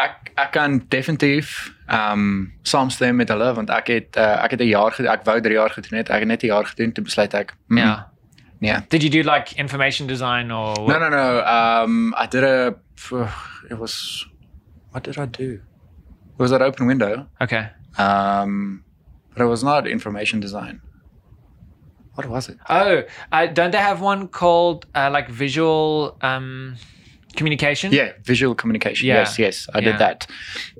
ek ek kan definitief ehm um, saamstem met hulle want ek het uh, ek het 'n jaar gedoen, ek wou 3 jaar gedoen het. Ek het net 'n jaar gedoen toe besluit ek. Mm,
Yeah.
Nee.
Did you do like information design or? What?
No no no. Um I did a it was what did I do? It was at open window.
Okay.
Um but it was not information design. What was it?
Oh, uh, don't they have one called uh, like visual um, communication?
Yeah, visual communication.
Yeah.
Yes, yes. I
Yeah.
did that.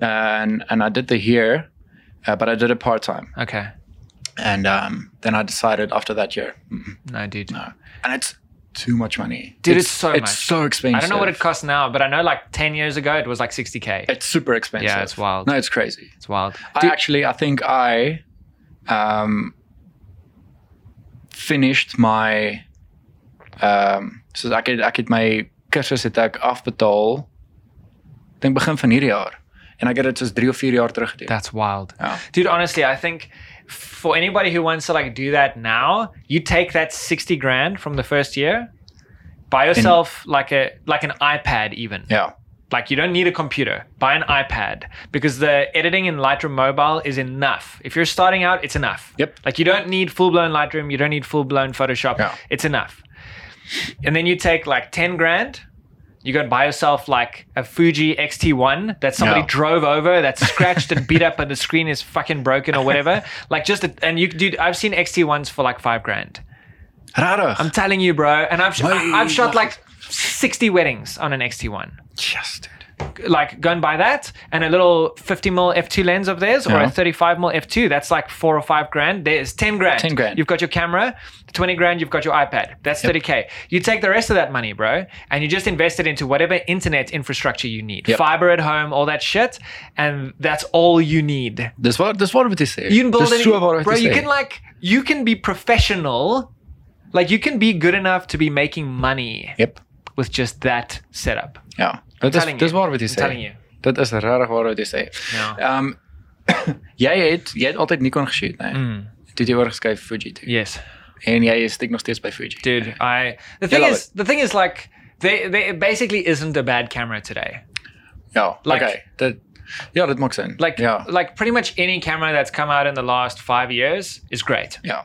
And and I did the year uh, but I did it part time.
Okay.
And um, then I decided after that year, mm,
No, dude.
no. And it's too much money.
Dude, it's so much.
it's so expensive.
I don't know what it costs now, but I know like 10 years ago it was like 60K.
It's super expensive.
Yeah, it's wild.
No, it's crazy.
It's wild.
I
Dude,
actually, I think I um, finished my um, so ek het ek het my kursus het ek afbetaal. ek Dink begin van hierdie jaar. En ek het dit soos 3 of 4 jaar terug gedoen.
that's wild.
Ja.
Dude, honestly, I think for anybody who wants to like do that now, you take that 60 grand from the first year, buy yourself like a like an iPad even.
Ja.
Like you don't need a computer. Buy an iPad because the editing in Lightroom Mobile is enough. If you're starting out, it's enough.
Yep.
Like you don't need full blown Lightroom, you don't need full blown Photoshop.
Yeah.
It's enough. And then you take like 10 grand, you go and buy yourself like a Fuji XT1 that somebody
Yeah.
drove over, that's scratched and beat up, and the screen is fucking broken or whatever. Like just, a, and you, dude, I've seen XT1s for like five grand.
Rarig.
I'm telling you, bro. And I've, sh-
Way
I've shot
off.
like 60 weddings on an XT1
just dude.
like go and buy that and a little 50 mil f2 lens of theirs or
Yeah.
a 35 mil f2 that's like four or five grand there's 10 grand
10 grand.
you've got your camera 20 grand you've got your ipad that's 30k you take the rest of that money bro and you just invest it into whatever internet infrastructure you need
Yep.
fiber at home all that shit and that's all you need
Dis wat dis wat wat jy sê.
you can build
dis
any,
so wat wat
bro
jy
you
sê.
can like you can be professional like you can be good enough to be making money
Yep.
with just that setup
Ja. Dit is
telling
dis
you.
waar wat jy
I'm
sê.
telling you.
Dit is regtig waar wat jy sê.
Ja.
Ehm jy het jy het altyd Nikon geshoot, né? Nee? Mm. Toe het jy oorgeskuif Fuji toe.
yes
En jy is steek nog steeds by Fuji.
dude i the thing
love
is the thing is like they, they it basically isn't a bad camera today
Ja,
like-
okay. Dit Ja, dit maak sin.
like
ja.
like pretty much any camera that's come out in the last five years is great
Ja.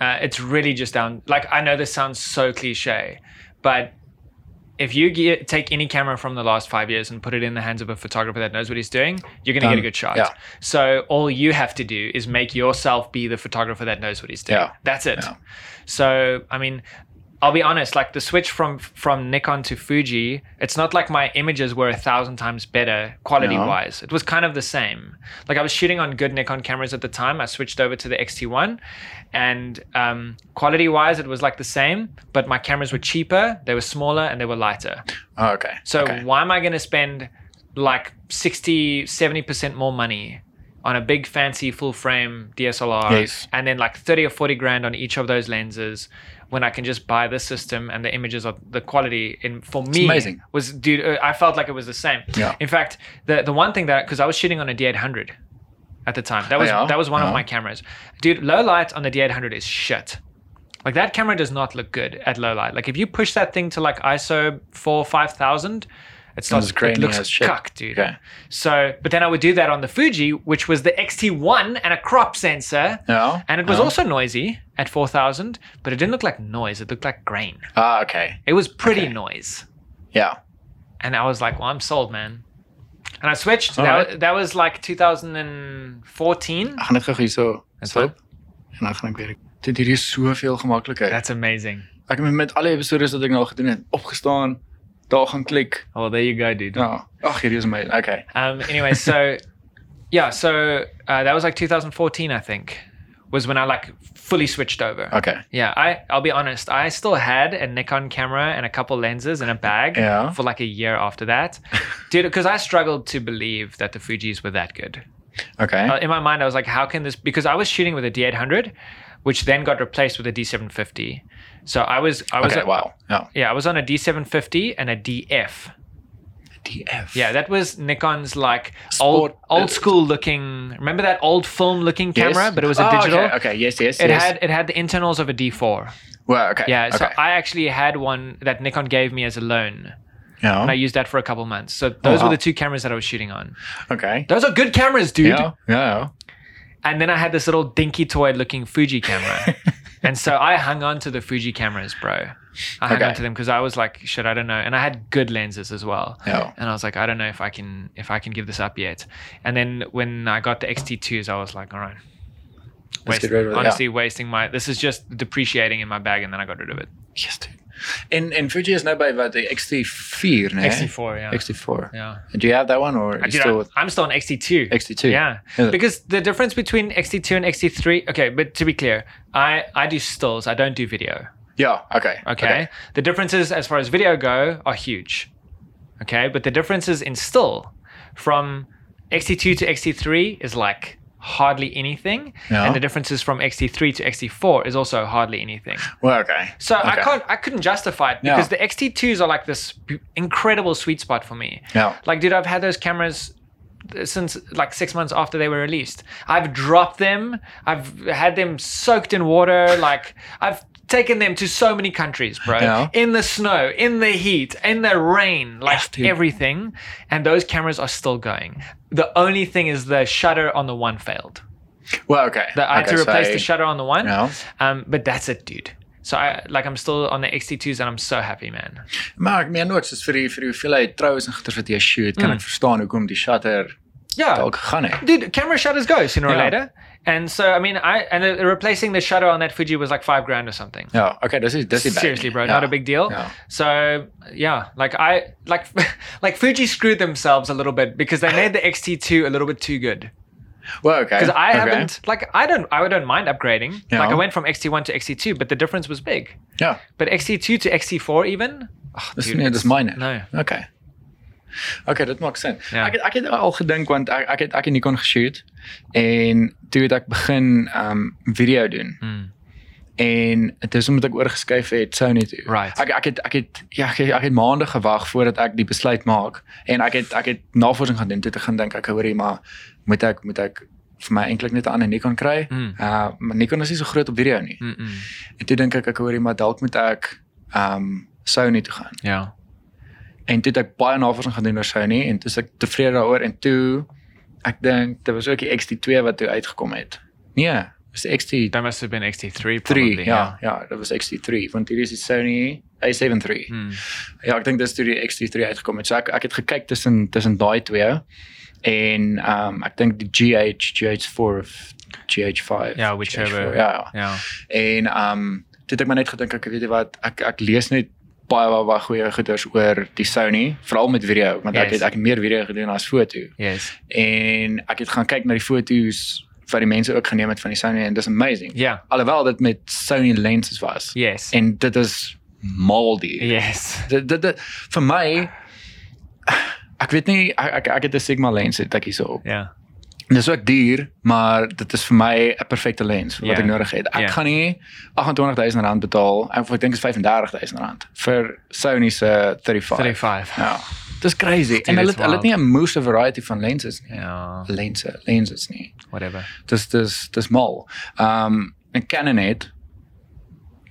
uh, it's really just down like i know this sounds so cliche but if you ge take any camera from the last five years and put it in the hands of a photographer that knows what he's doing, you're going to get
Done.
a good shot.
Yeah.
So all you have to do is make yourself be the photographer that knows what he's doing.
Yeah.
That's it.
Yeah.
So I mean, I'll be honest. Like the switch from from Nikon to Fuji, it's not like my images were a thousand times better quality wise. It was kind of the same. Like I was shooting on good Nikon cameras at the time. I switched over to the XT1, and um, quality wise, it was like the same. But my cameras were cheaper, they were smaller, and they were lighter.
Oh, okay.
So
okay.
why am I going to spend like 60, 70% more money on a big fancy full frame DSLR
Yes.
and then like 30 or 40 grand on each of those lenses when I can just buy this system and the images of the quality in for me
amazing.
was dude uh, I felt like it was the same.
Yeah.
In fact, the the one thing that cuz I was shooting on a D800 at the time. That was
Oh, yeah? Uh-huh.
that was one
Yeah.
of my cameras. Dude, low light on the D800 is shit. Like that camera does not look good at low light. Like if you push that thing to like ISO four five thousand, it starts.
It's grainy
It looks
as shit.
cuck, dude.
Okay.
So, but then I would do that on the Fuji, which was the XT1 and a crop sensor,
Ja.
and it was
ja.
also noisy at four thousand, but it didn't look like noise. It looked like grain.
Ah, okay.
It was pretty noise,
Ja.
and I was like, "Well, I'm sold, man." And I switched.
All
That,
right.
that was like 2014.
Ek gaan dit gou hierso
Dis
stop. En dan gaan ek weer. Dit hier is soveel gemakliker.
That's amazing.
Ek het met alle episode wat ek nou al gedoen het, opgestaan, daar gaan klik.
Well, Oh, there you go, dude.
Ja. Ag, hier is my. Okay.
Um, anyway, so yeah, so uh, that was like 2014, I think, was when I like fully switched over.
Okay.
Yeah, I I'll be honest, I still had a Nikon camera and a couple lenses in a bag
Yeah.
for like a year after that, dude, because I struggled to believe that the Fuji's were that good.
Okay.
Uh, in my mind, I was like, how can this? Because I was shooting with a D800, which then got replaced with a D750. So I was I was
okay,
a-
wow. Yeah.
yeah I was on a D750 and a DF.
DF.
Yeah, that was Nikon's like
Sport- uh,
old old school looking. Remember that old film looking
Yes.
camera, but it was a
Oh,
digital.
Okay, okay. yes, yes,
It
yes.
had it had the internals of a D4.
Well, okay.
Yeah, so
okay.
I actually had one that Nikon gave me as a loan,
yeah.
and I used that for a couple months. So those
wow.
were the two cameras that I was shooting on.
okay.
Those are good cameras, dude.
Yeah. Yeah.
And then I had this little dinky toy looking Fuji camera. and so I hung on to the Fuji cameras, bro. I hung
Okay.
on to them because I was like, shit, I don't know. And I had good lenses as well.
Yeah.
And I was like, I don't know if I can if I can give this up yet. And then when I got the XT2s, I was like, all right.
Let's get rid of it, yeah.
honestly, wasting my this is just depreciating in my bag, and then I got rid of it.
Yes, dude. In in Fuji is now by about the XT4, nee?
XT4, yeah,
XT4.
yeah.
Do you have that one or
I
you
did-
still with
I'm still on XT2.
XT2?
Yeah,
Is it?
because the difference between XT2 and XT3. Okay, but to be clear, I I do stills. I don't do video.
Yeah. Okay.
Okay? the differences as far as video go are huge. Okay, but the differences in still from XT2 to XT3 is like hardly anything,
Yeah.
and the differences from XT3 to XT4 is also hardly anything.
Well, okay.
So I
Okay.
can't, I couldn't justify it
Yeah.
because the XT2s are like this b- incredible sweet spot for me.
Yeah.
Like, dude, I've had those cameras since like six months after they were released. I've dropped them. I've had them soaked in water. Like, I've taken them to so many countries, bro.
Yeah.
In the snow, in the heat, in the rain, like
Yes, dude.
everything. And those cameras are still going. The only thing is the shutter on the one failed.
Well, okay.
The, I had
Okay,
to replace
so-
the shutter on the one.
Yeah.
Um, but that's it, dude. So I like I'm still on the XT2s and I'm so happy, man.
Maar ek meen ook soos vir die vir die hoeveelheid troues en goeters wat jy shoot,
Mm.
kan ek verstaan hoekom die shutter
Yeah.
dalk gegaan het.
Dude, camera shutters go sooner or
Yeah.
later. And so I mean I and uh, replacing the shutter on that Fuji was like five grand or something.
Ja, okay, dis is dis is bad.
Seriously, bro,
Ja.
not a big deal.
Yeah.
So yeah, like I like like Fuji screwed themselves a little bit because they made the XT2 a little bit too good.
Well, okay.
Because I
okay.
haven't like I don't I don't mind upgrading.
Yeah.
Like I went from XT1 to XT2, but the difference was big.
Ja,
But XT2 to XT4 even. Oh,
dis
dude,
nie dis myne.
no.
Okay. Okay, dit maak sin.
Ja.
Ek het, ek het al gedink want ek ek het ek het Nikon geshoot en toe het ek begin um video doen.
Mm.
En dit is omdat ek oorgeskuif het Sony toe.
Right.
Ek ek het ek het ja ek het, ek het maande gewag voordat ek die besluit maak en ek het ek het navorsing gaan doen toe te gaan dink ek hoorie maar moet ek moet ek vir my eintlik net 'n ander Nikon kry?
Mm.
Uh maar Nikon is nie so groot op video nie.
Mm-mm.
En toe dink ek ek hoorie maar dalk moet ek um Sony toe gaan.
Yeah.
En toe het ek baie navorsing gedoen oor Sony en toe is ek tevrede daaroor en toe ek dink dit was ook die XT2 wat toe uitgekom het. Nee, dis die XT3.
That must have been XT3
Ja,
probably.
ja, dit was XT3 want hierdie is die Sony A7 III.
Hmm.
Ja, ek dink dis toe die XT3 uitgekom het. So ek ek het gekyk tussen tussen daai twee en ehm um, ek dink die GH GH4 of GH5.
Ja, whichever.
GH4, ja.
Yeah.
En ehm um, toe het ek maar net gedink ek weet jy wat, ek ek lees net baie baie, baie goeie goeders oor die Sony, veral met video, want ek
Yes.
het ek het meer video gedoen as foto.
Yes.
En ek het gaan kyk na die foto's wat die mense ook geneem het van die Sony en dis amazing.
Yeah.
Alhoewel dit met Sony lenses was.
Yes.
En dit is moldy.
Ja. yes.
Dit, dit dit vir my ek weet nie ek ek, ek het 'n Sigma lens het ek hierso op.
Yeah.
Dit is ook duur, maar dit is vir my 'n perfekte lens wat
Ja.
ek nodig het. Ek
Ja. gaan
gaan nie R28000 betaal of ek dink is R35000 vir Sony se 35.
35.
eh, Ja. Dis crazy. en hulle
it's
het- hulle het nie 'n moose variety van lenses nie.
Yeah.
Lense, lenses nie.
Whatever.
Dis dis dis mal. Um en Canon het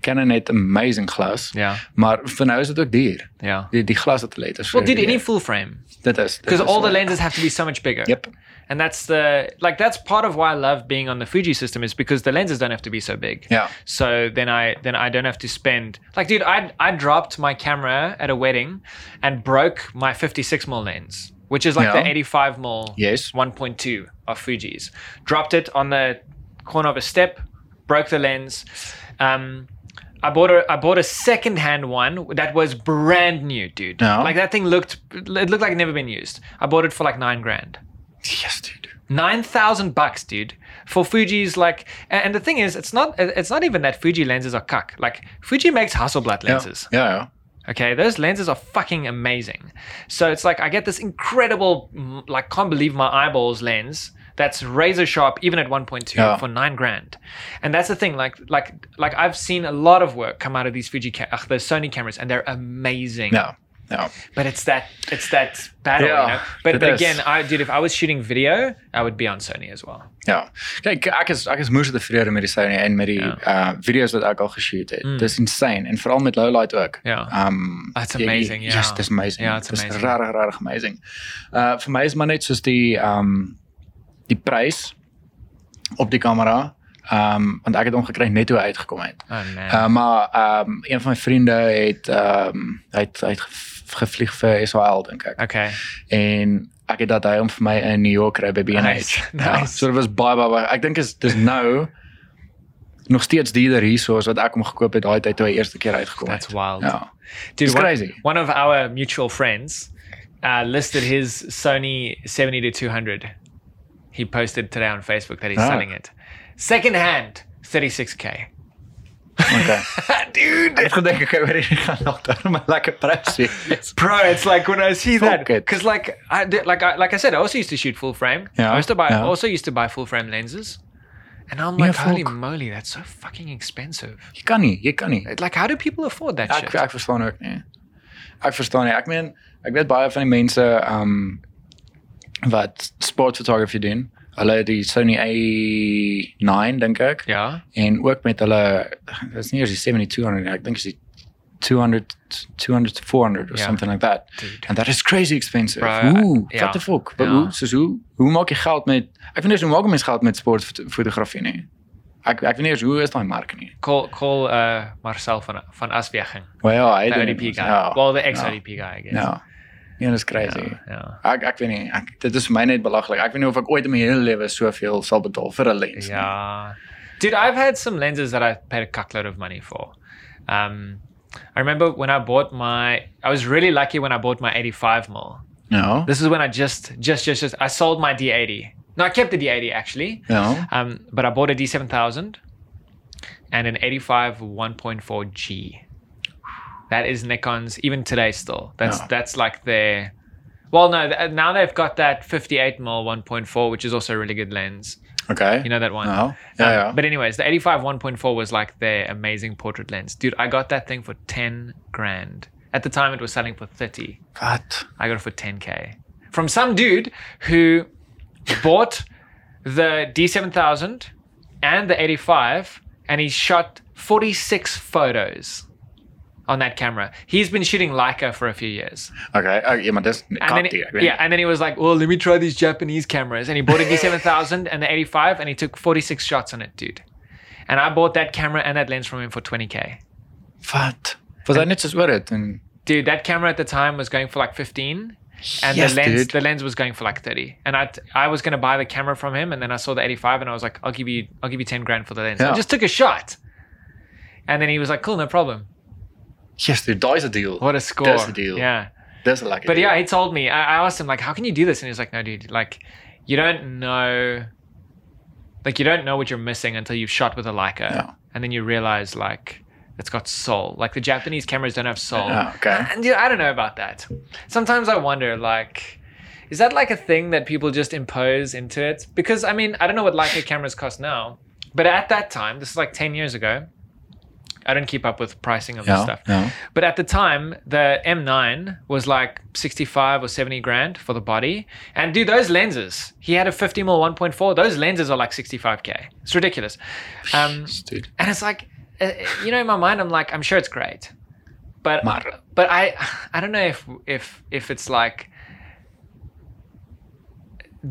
Canon het amazing glas.
Yeah.
Maar vir nou is dit ook duur.
Yeah.
Die die glas wat hulle het is.
Well,
vir
dude, any
duur.
full frame
Dit is dit
because
is
all the
wel-
lenses have to be so much bigger.
Yep.
And that's the like that's part of why I love being on the Fuji system is because the lenses don't have to be so big.
Ja.
So then I then I don't have to spend like dude I I dropped my camera at a wedding and broke my 56 mm lens which is like
Yeah.
the 85 mm
Yes.
1.2 of Fuji's dropped it on the corner of a step broke the lens um I bought a I bought a second hand one that was brand new dude
Yeah.
like that thing looked it looked like it never been used I bought it for like 9 grand
Yes, dude.
Nine thousand bucks, dude, for Fuji's like. And and the thing is, it's not. It's not even that Fuji lenses are cuck. Like Fuji makes Hasselblad
Ja.
lenses.
Ja, ja.
Okay, those lenses are fucking amazing. So it's like I get this incredible, mm, like, can't believe my eyeballs lens that's razor sharp even at 1.2
Yeah.
for 9 grand. And that's the thing like like like I've seen a lot of work come out of these Fuji ca- ugh, the Sony cameras and they're amazing.
No, no.
But it's that it's that battle,
Yeah,
you know. But,
it
but
is.
again, I dude if I was shooting video, I would be on Sony as well.
Ja. Kijk, ek is ek is moeg met die vrede met die Sony en met die
Ja.
uh video's wat ek al geshoot het.
Mm.
Dis insane en veral met low light ook.
Yeah.
Um
That's
jy-
amazing, ja.
Yes, dis amazing.
Ja, it's
dis
amazing.
regtig regtig amazing. Uh vir my is maar net soos die um die prys op die kamera. Um want ek het hom gekry net toe hy uitgekom het.
oh man.
Uh, maar um, een van my vriende het um, hy het, hy het gev- gevlieg vir Israel dink ek.
okay.
En ek het dat hy hom vir my in New York kry by B&H.
Nice,
Ja,
nice.
so dit was baie baie, baie ek dink is dis nou nog steeds duurder hiersoos wat ek hom gekoop het daai tyd toe hy eerste keer uitgekom
That's
het.
wild.
Ja.
Dude,
It's
one,
crazy.
One of our mutual friends uh, listed his Sony 70 to 200. He posted today on Facebook that he's
Ah.
selling it. Secondhand, 36K.
Okay.
Dude.
ek gedink ek oor hierdie gaan nog daar maar lekker prys wees.
Bro, it's like when I see
Fuck
that
it.
because, like, I did- like, I, like I said, I also used to shoot full frame.
Yeah,
I used to buy,
yeah.
also used to buy full frame lenses, and I'm
Yeah,
like, holy
fuck.
moly, that's so fucking expensive.
Jy kan nie, jy kan nie.
Like, how do people afford that
Ek
shit?
ek verstaan ook nie. Ek verstaan nie. Ek meen, ek weet baie van die mense um wat sportfotografie doen. Hulle het die Sony A9 dink ek
yeah,
en ook met hulle dis nie eers die 7200 nie, ek dink is die 200 200 to 400 or
Ja.
something like that.
dude.
And that is crazy expensive.
Bro,
Ooh,
ja.
what the fuck? But
Ja.
hoe, soos hoe hoe maak jy geld met ek weet nie eens hoe maak mense geld met sportfotografie nie. Ek ek weet nie eens hoe is daai mark nie.
Call call uh, Marcel van van Aswegen.
Maar ja, hy
the
doen dit
ODP
mos.
guy.
Ja,
Well, the ex
ja.
ODP guy, I guess.
Ja. Ja, dis crazy.
Yeah, yeah.
Ek ek weet nie, ek dit is vir my net belaglik. Ek weet nie of ek ooit in my hele lewe soveel sal betaal vir 'n lens
Ja.
nie.
Yeah. Dude, I've had some lenses that I paid a cuckload of money for. Um, I remember when I bought my, I was really lucky when I bought my 85 mil.
Ja.
This is when I just, just, just, just, I sold my D80. No, I kept the D80 actually,
Ja.
um, but I bought a D7000 and an 85 1.4G. That is Nikon's, even today still. That's
Yeah.
that's like their. Well, no, th- now they've got that 58 mil 1.4, which is also a really good lens.
Okay.
You know that one?
Ja.
Um,
Ja ja.
But anyways, the 85 1.4 was like their amazing portrait lens. Dude, I got that thing for 10 grand. At the time it was selling for 30.
Wat?
I got it for 10k from some dude who bought the D7000 and the 85 and he shot 46 photos on that camera. He's been shooting Leica for a few years.
Okay. Ek oh, ja, maar dis
And
kan
then,
dit.
yeah, and then he was like, "Well, let me try these Japanese cameras." And he bought a D7000 and the 85 and he took 46 shots on it, dude. And I bought that camera and that lens from him for 20k.
Wat? Was hy net soos oor dit en
Dude, that camera at the time was going for like 15 and
Yes,
the lens
dude.
the lens was going for like 30 and i i was going to buy the camera from him and then i saw the 85 and i was like i'll give you i'll give you 10 grand for the lens i
Yeah.
just took a shot and then he was like cool no problem
Yes, dude, daai is 'n deal.
what a score
That's the deal.
yeah
Dis 'n lekker.
but
deal.
yeah he told me I, I asked him like how can you do this and he was like no dude like you don't know like you don't know what you're missing until you've shot with a leica
Yeah.
and then you realize like it's got soul like the japanese cameras don't have soul
Ja, okay.
and yeah, I don't know about that. Sometimes I wonder, like, is that like a thing that people just impose into it? Because I mean, I don't know what Leica cameras cost now, but at that time, this is like ten years ago. I don't keep up with pricing of this
Ja.
stuff.
Ja.
But at the time, the M9 was like 65 or 70 grand for the body. And dude, those lenses, he had a 50 mil 1.4. Those lenses are like 65K. It's ridiculous. Um,
Yes, Dude.
and it's like, uh, you know, in my mind, I'm like, I'm sure it's great, but
Maar
but I I don't know if if if it's like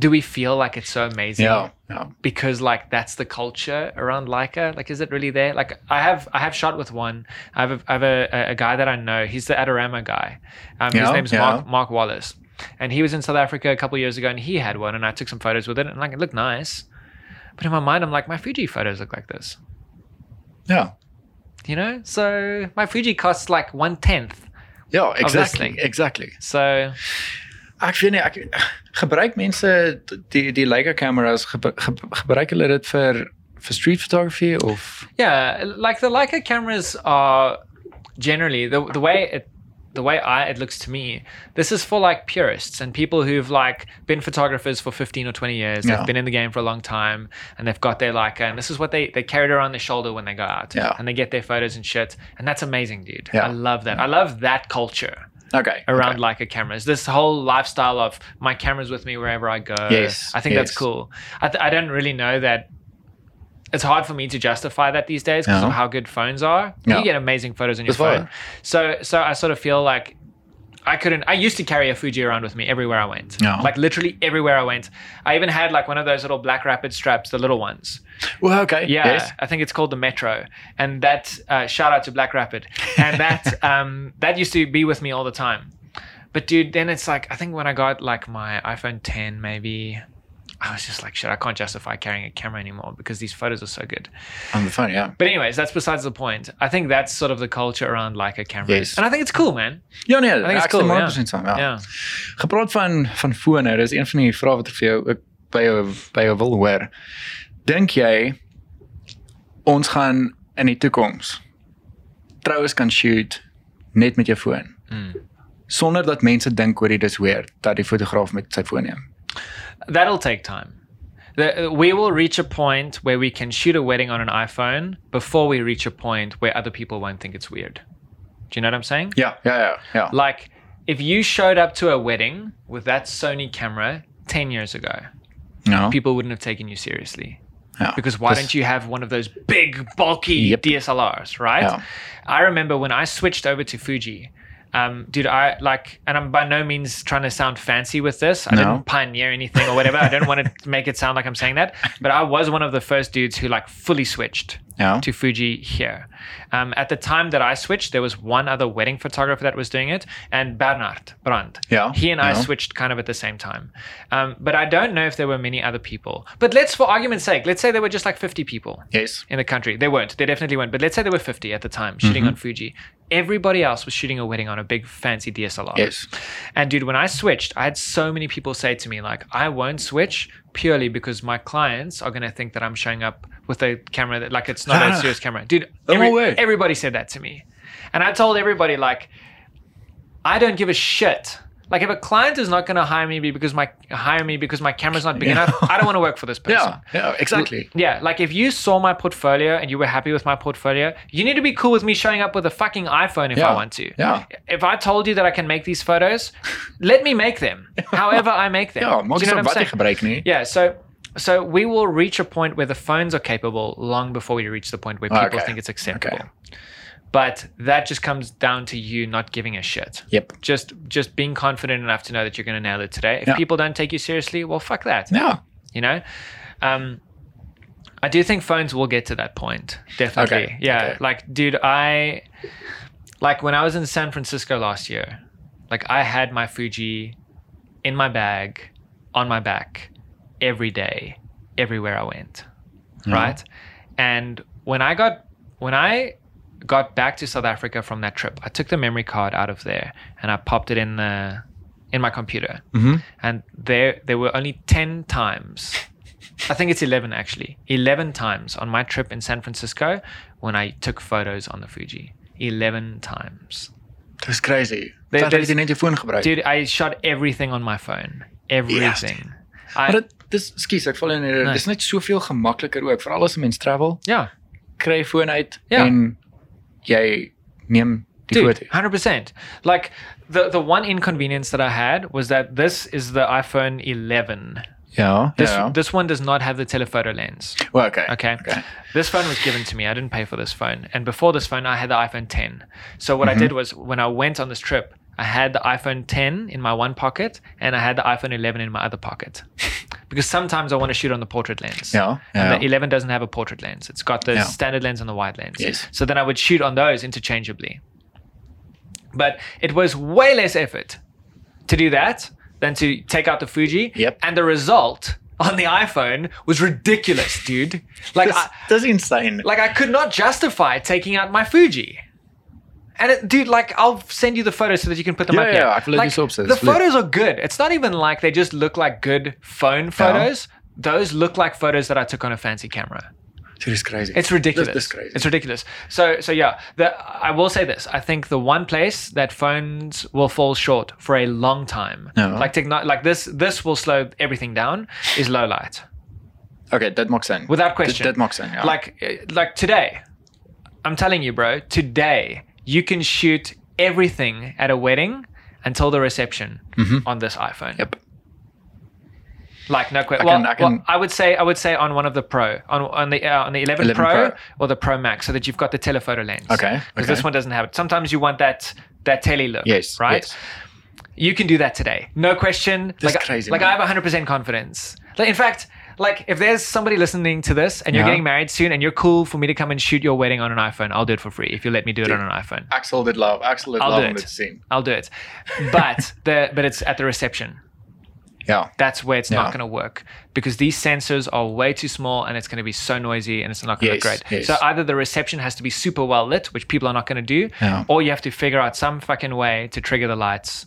do we feel like it's so amazing
ja, ja.
because like that's the culture around Leica like is it really there like I have I have shot with one I have a, I have a, a- a guy that I know he's the Adorama guy um, his
Yeah,
name's
yeah.
Mark Mark Wallace and he was in South Africa a couple years ago and he had one and I took some photos with it and like it looked nice but in my mind I'm like my Fuji photos look like this
Ja.
you know so my Fuji costs like one tenth
Ja, exactly.
thing.
Exactly.
so
Ek weet nie, ek gebruik mense die die Leica kameras gebru- ge- gebruik hulle dit vir vir street photography of
Yeah, like the Leica cameras are generally the the way it the way I it looks to me, this is for like purists and people who've like been photographers for 15 or 20 years.
Yeah.
They've been in the game for a long time and they've got their like and this is what they they carried around their shoulder when they go out.
Yeah.
And they get their photos and shit. And that's amazing, dude.
Yeah.
I love that. I love that culture
Okay.
around
okay.
like a camera. It's this whole lifestyle of my camera's with me wherever I go.
Yes,
I think that's
yes.
cool. I, th- I don't really know that. It's hard for me to justify that these days because
No.
of how good phones are.
Yeah.
You get amazing photos on your
That's right.
phone. So so I sort of feel like I couldn't. I used to carry a Fuji around with me everywhere I went.
Yeah.
Like literally everywhere I went. I even had like one of those little black rapid straps, the little ones.
Well, okay.
Yeah,
Yes.
I think it's called the Metro, and that uh, shout out to Black Rapid, and that um, that used to be with me all the time. But dude, then it's like I think when I got like my iPhone 10, maybe I was just like, shit, I can't justify carrying a camera anymore because these photos are so good.
On the phone. Yeah.
But anyways, that's besides the point. I think that's sort of the culture aroround like a camera,
Yes.
and I think it's cool, man.
Ja nee,
think it's
ek stem
cool,
100% saam. Ja.
Yeah,
Gepraat van van fone, dis een van die vrae wat ek vir jou ook by jou by jou wil hoor. Dink jy ons gaan in die toekoms troues kan shoot net met jou foon?
Mm.
Sonder dat mense dink oor dit is weird dat die fotograaf met sy foon neem.
that'll take time. The, we will reach a point where we can shoot a wedding on an iPhone before we reach a point where other people won't think it's weird. Do you know what I'm saying?
Ja, ja, ja, ja.
Like, if you showed up to a wedding with that Sony camera 10 years ago,
Ja.
people wouldn't have taken you seriously.
ja.
Because why don't you have one of those big, bulky
Yep.
DSLRs, right?
Yeah.
I remember when I switched over to Fuji. Um, dude, I like, and I'm by no means trying to sound fancy with this. I
No.
didn't pioneer anything or whatever. I don't want to make it sound like I'm saying that, but I was one of the first dudes who like fully switched
Ja.
to Fuji here. Um, at the time that I switched, there was one other wedding photographer that was doing it, and Bernard Brandt.
Yeah,
He and I
yeah.
switched kind of at the same time. Um, but I don't know if there were many other people. But let's, for argument's sake, let's say there were just like 50 people
Yes.
in the country. They weren't. They definitely weren't. But let's say there were 50 at the time shooting on Fuji. Everybody else was shooting a wedding on a big fancy DSLR.
Yes.
And dude, when I switched, I had so many people say to me, like, I won't switch purely because my clients are going to think that I'm showing up with a camera that, like, it's not
Ah.
a serious camera. Dude,
No
every-
way.
everybody said that to me. And I told everybody, like, I don't give a shit. Like if a client is not going to hire me because my hire me because my camera's not big
Yeah.
enough, I don't want to work for this person.
Ja, ja, exactly.
Yeah, like if you saw my portfolio and you were happy with my portfolio, you need to be cool with me showing up with a fucking iPhone if
Yeah,
I want to.
yeah.
If I told you that I can make these photos, let me make them. However I make them.
Ja,
Do
maak
you know
nie
what I'm
wat jy
saying? Ja.
gebruik nie.
Yeah, so so we will reach a point where the phones are capable long before we reach the point where people
Okay.
think it's acceptable. But that just comes down to you not giving a shit.
Yep.
Just just being confident enough to know that you're going to nail it today. If
Yeah.
people don't take you seriously, well fuck that
Ja.
you know um i do think phones will get to that point definitely
Okay,
yeah
okay.
like dude i like when i was in san francisco last year like i had my fuji in my bag on my back every day everywhere i went
Mhm.
right and when i got when i got back to south africa from that trip i took the memory card out of there and i popped it in the in my computer
Mhm.
and there there were only 10 times i think it's 11 actually 11 times on my trip in san francisco when i took photos on the fuji 11 times
Dis crazy.
There-
Dat het
there's-
jy net jou foon gebruik.
dude i shot everything on my phone everything
Maar
I,
dit dis skus, ek val in hierdie.
Nee.
Dis net soveel gemakliker ook vir alles mense travel,
yeah
kry jou foon uit
Ja.
en jy neem die
dude
foto.
100% like the the one inconvenience that i had was that this is the iphone 11
Ja,
this
ja.
this one does not have the telephoto lens
Well, okay.
Okay. This phone was given to me. I didn't pay for this phone. And before this phone, I had the iPhone 10. So what I did was when I went on this trip, I had the iPhone 10 in my one pocket and I had the iPhone 11 in my other pocket. because sometimes I want to shoot on the portrait lens.
Ja,
And the
ja.
11 doesn't have a portrait lens. It's got the
Yeah.
standard lens and the wide lens.
Yes.
So then I would shoot on those interchangeably. But it was way less effort to do that than to take out the Fuji.
Yep.
And the result on the iPhone was ridiculous, dude. Like,
Dis
I,
dis insane.
like I could not justify taking out my Fuji. And it, dude, like I'll send you the photos so that you can put them
Yeah,
up
yeah,
here.
yeah, I can let you
like,
swap this,
The
please.
photos are good. It's not even like they just look like good phone photos. Those look like photos that I took on a fancy camera.
Dude, it's crazy.
It's ridiculous.
That's, that's crazy.
It's ridiculous. So so yeah, the, I will say this. I think the one place that phones will fall short for a long time,
No.
like techno- like this this will slow everything down is low light
okay, that mocks in.
without question.
That mocks in, yeah.
Like uh, like today, I'm telling you, bro. Today you can shoot everything at a wedding until the reception on this iPhone.
Mm-hmm. Yep.
Like no question.
I
Well,
can- I
well, I
can-
would say I would say on one of the Pro, on on the uh, on the 11,
11
Pro,
Pro.
or the Pro Max, so that you've got the telephoto lens.
Okay,
Because
okay.
this one doesn't have it. Sometimes you want that that tele look.
Yes.
Right.
yes.
You can do that today. No question.
That's
like
crazy,
like
man.
I have 100% confidence. Like in fact, like if there's somebody listening to this and you're
Yeah.
getting married soon and you're cool for me to come and shoot your wedding on an iPhone, I'll do it for free if you let me do it on an iPhone.
Axel did love. Axel did
I'll
love
do
on
it.
the scene.
I'll do it. But the but it's at the reception.
Yeah.
That's where it's
Yeah.
not going to work because these sensors are way too small and it's going to be so noisy and it's not going to
Yes,
look great.
yes.
So either the reception has to be super well lit, which people are not going to do,
Yeah.
or you have to figure out some fucking way to trigger the lights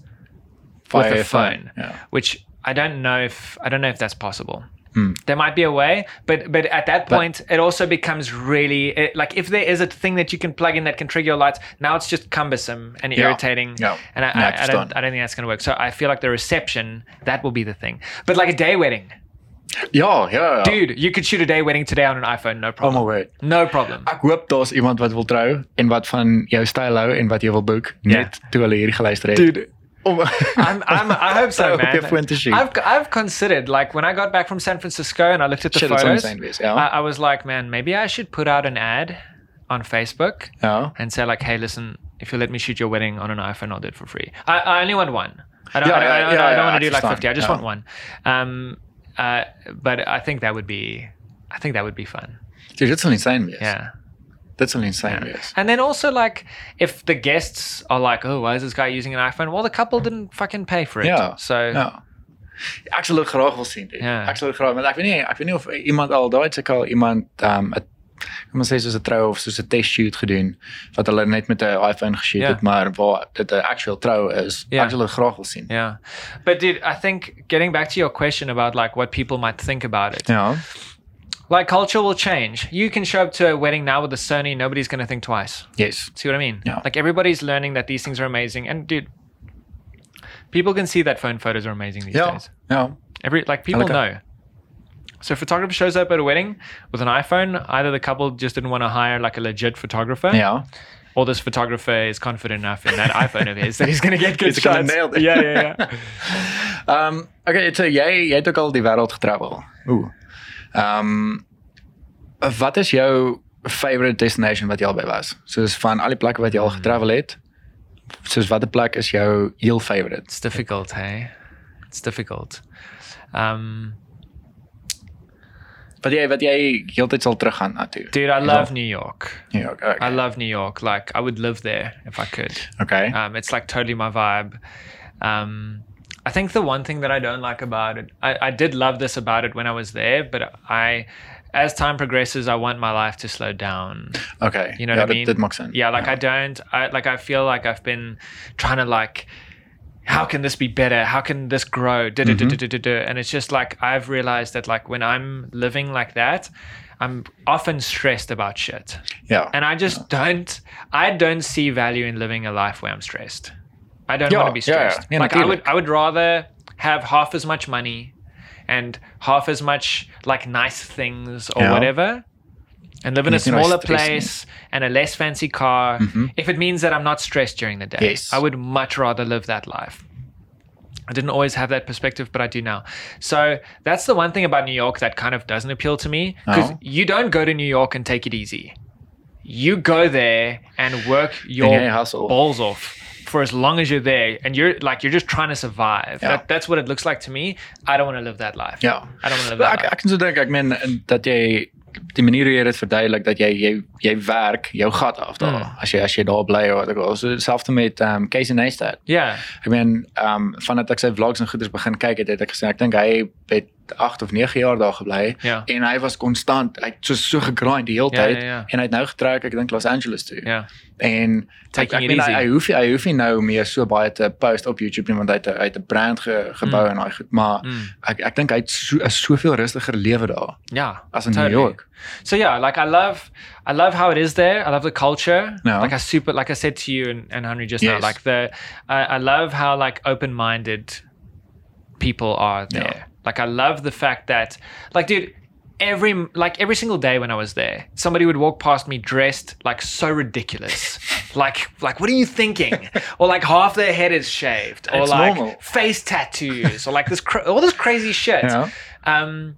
Via
with a
a phone,
phone,
yeah.
which I don't know if I don't know if that's possible.
Hmm.
There might be a way, but but at that point, it also becomes really it, like if there is a thing that you can plug in that can trigger your lights, now it's just cumbersome and irritating.
Yeah.
And I,
No,
I,
it's
I
done.
don't I don't think that's going to work. So I feel like the reception that will be the thing. But like a day wedding,
Ja, ja, ja.
dude, you could shoot a day wedding today on an iPhone, no
Oh
problem.
my word.
no problem.
Ek hoop daar's iemand wat wil trou en wat van jou styl hou en wat jy wil boek
Ja.
net toe hulle hier geluister het.
Dude,
Om,
I'm, I'm, I hope so,
Op jou
man.
foon te shoot.
I've, I've considered, like, when I got back from San Francisco and I looked at the
Shit, it's
photos, Ah.
insane wees, yeah.
I, I was like, man, maybe I should put out an ad on Facebook
ja.
and say, like, hey, listen, if you let me shoot your wedding on an iPhone, I'll do it for free. I, I only want one. I don't,
Yeah,
I don't,
yeah,
I don't,
yeah,
I don't
yeah,
want
I
to do like
understand,
50. I just
yeah.
want one. Um, uh, but I think that would be, I think that would be fun.
Dude, dit sal insane wees.
Yeah.
Dit sal insane wees.
And then also like if the guests are like, oh, why is this guy using an iPhone? Well, the couple didn't fucking pay for it.
Yeah.
So
Ja. Ek sal dit graag wil sien. dude.
Ja.
Ek sal dit graag, want ek weet nie, ek weet nie of iemand al daai se al iemand ehm um, kom ons sê soos 'n trou of soos 'n test shoot gedoen wat hulle net met 'n iPhone geshoot
Ja.
het, maar waar dit 'n actual trou is.
Ja.
Ek sal dit graag wil sien.
Yeah. But dude, I think getting back to your question about like what people might think about it.
Ja.
Like culture will change. You can show up to a wedding now with a Sony, nobody's gonna think twice.
Yes.
See what I mean?
Yeah.
Like everybody's learning that these things are amazing. And dude, people can see that phone photos are amazing these
Ja.
days.
Ja.
Every like people
like that.
know. So a photographer shows up at a wedding with an iPhone, either the couple just didn't want to hire like a legit photographer.
Ja.
or this photographer is confident enough in that iPhone of his that he's going to get good
He's gonna
shots.
nail it.
Yeah, yeah, yeah.
Ehm um, okay, so jy jy het ook al die wêreld getravel. Ooh. Ehm um, wat is jou favorite destination wat jy al by was? Soos van al die plekke wat jy
Hmm.
al getravel het. Soos watter plek is jou heel favorite?
it's difficult, hey? It's difficult. Um,
Wat jy wat jy heeltyd sal teruggaan na toe.
dude, I love New York.
New York. Okay.
I love New York. Like, I would live there if I could.
okay.
Um, it's like totally my vibe. Um, I think the one thing that I don't like about it, I, I did love this about it when I was there, but I, as time progresses, I want my life to slow down.
okay.
You know
ja,
what I
dit-
mean?
Dit maak sin.
Yeah, like I don't. I like I feel like I've been trying to like, how can this be better? How can this grow? Da, da, da, da, da, da, da. And it's just like I've realized that like when I'm living like that, I'm often stressed about shit,
Ja.
and I just don't. I don't see value in living a life where I'm stressed. I don't
Yeah,
want to be
yeah, yeah.
stressed.
Yeah,
like I
natuurlijk.
would. I would rather have half as much money, and half as much like nice things or
Yeah.
whatever and live in a
Anything like
smaller
stress,
place and a less fancy car if it means that I'm not stressed during the day.
Yes.
I would much rather live that life. I didn't always have that perspective, but I do now. So that's the one thing about New York that kind of doesn't appeal to me because
Oh.
you don't go to New York and take it easy. You go there and work your
you hustle.
balls off for as long as you're there, and you're like you're just trying to survive.
Yeah.
That, that's what it looks like to me. I don't want to live that life.
Ja.
I don't want to live that.
Ek
life.
ek kan so dink, ek meen dat jy die manier hoe jy dit verduidelik dat jy jy jy werk jou gat af daar.
Mm.
As jy as jy daar bly of wat ook al. So selfs met ehm um, Casey Neistat.
Yeah.
Ek meen, ehm um, vandat ek sy vlogs en goeders begin kyk het, het ek gesien ek dink hy weet, acht of negen jaar daar gebly
Ja.
en hy was konstant, hy het so so gegrind die hele
Ja,
tyd
ja, ja.
en hy het nou getrek ek dink Los Angeles toe.
Ja.
En ek,
Taking
ek
it
meen
easy.
hy, hy hoef nie- hy hoef nie nou meer so baie te post op YouTube nie want hy het hy het 'n brand ge, gebou en daai goed, maar
Mm.
ek ek dink hy het so, 'n soveel rustiger lewe daar
Yeah.
as in New
Totally.
York.
So yeah, like I love, I love how it is there. I love the culture.
Yeah.
Like I super, like I said to you and, and Henry just now,
Yes.
like the, I, I love how like open-minded people are there.
Yeah.
Like I love the fact that, like, dude, every like every single day when I was there, somebody would walk past me dressed like so ridiculous, like like what are you thinking? or like half their head is shaved, or
It's
like
normal.
face tattoos, or like this cra- all this crazy shit.
Yeah.
Um,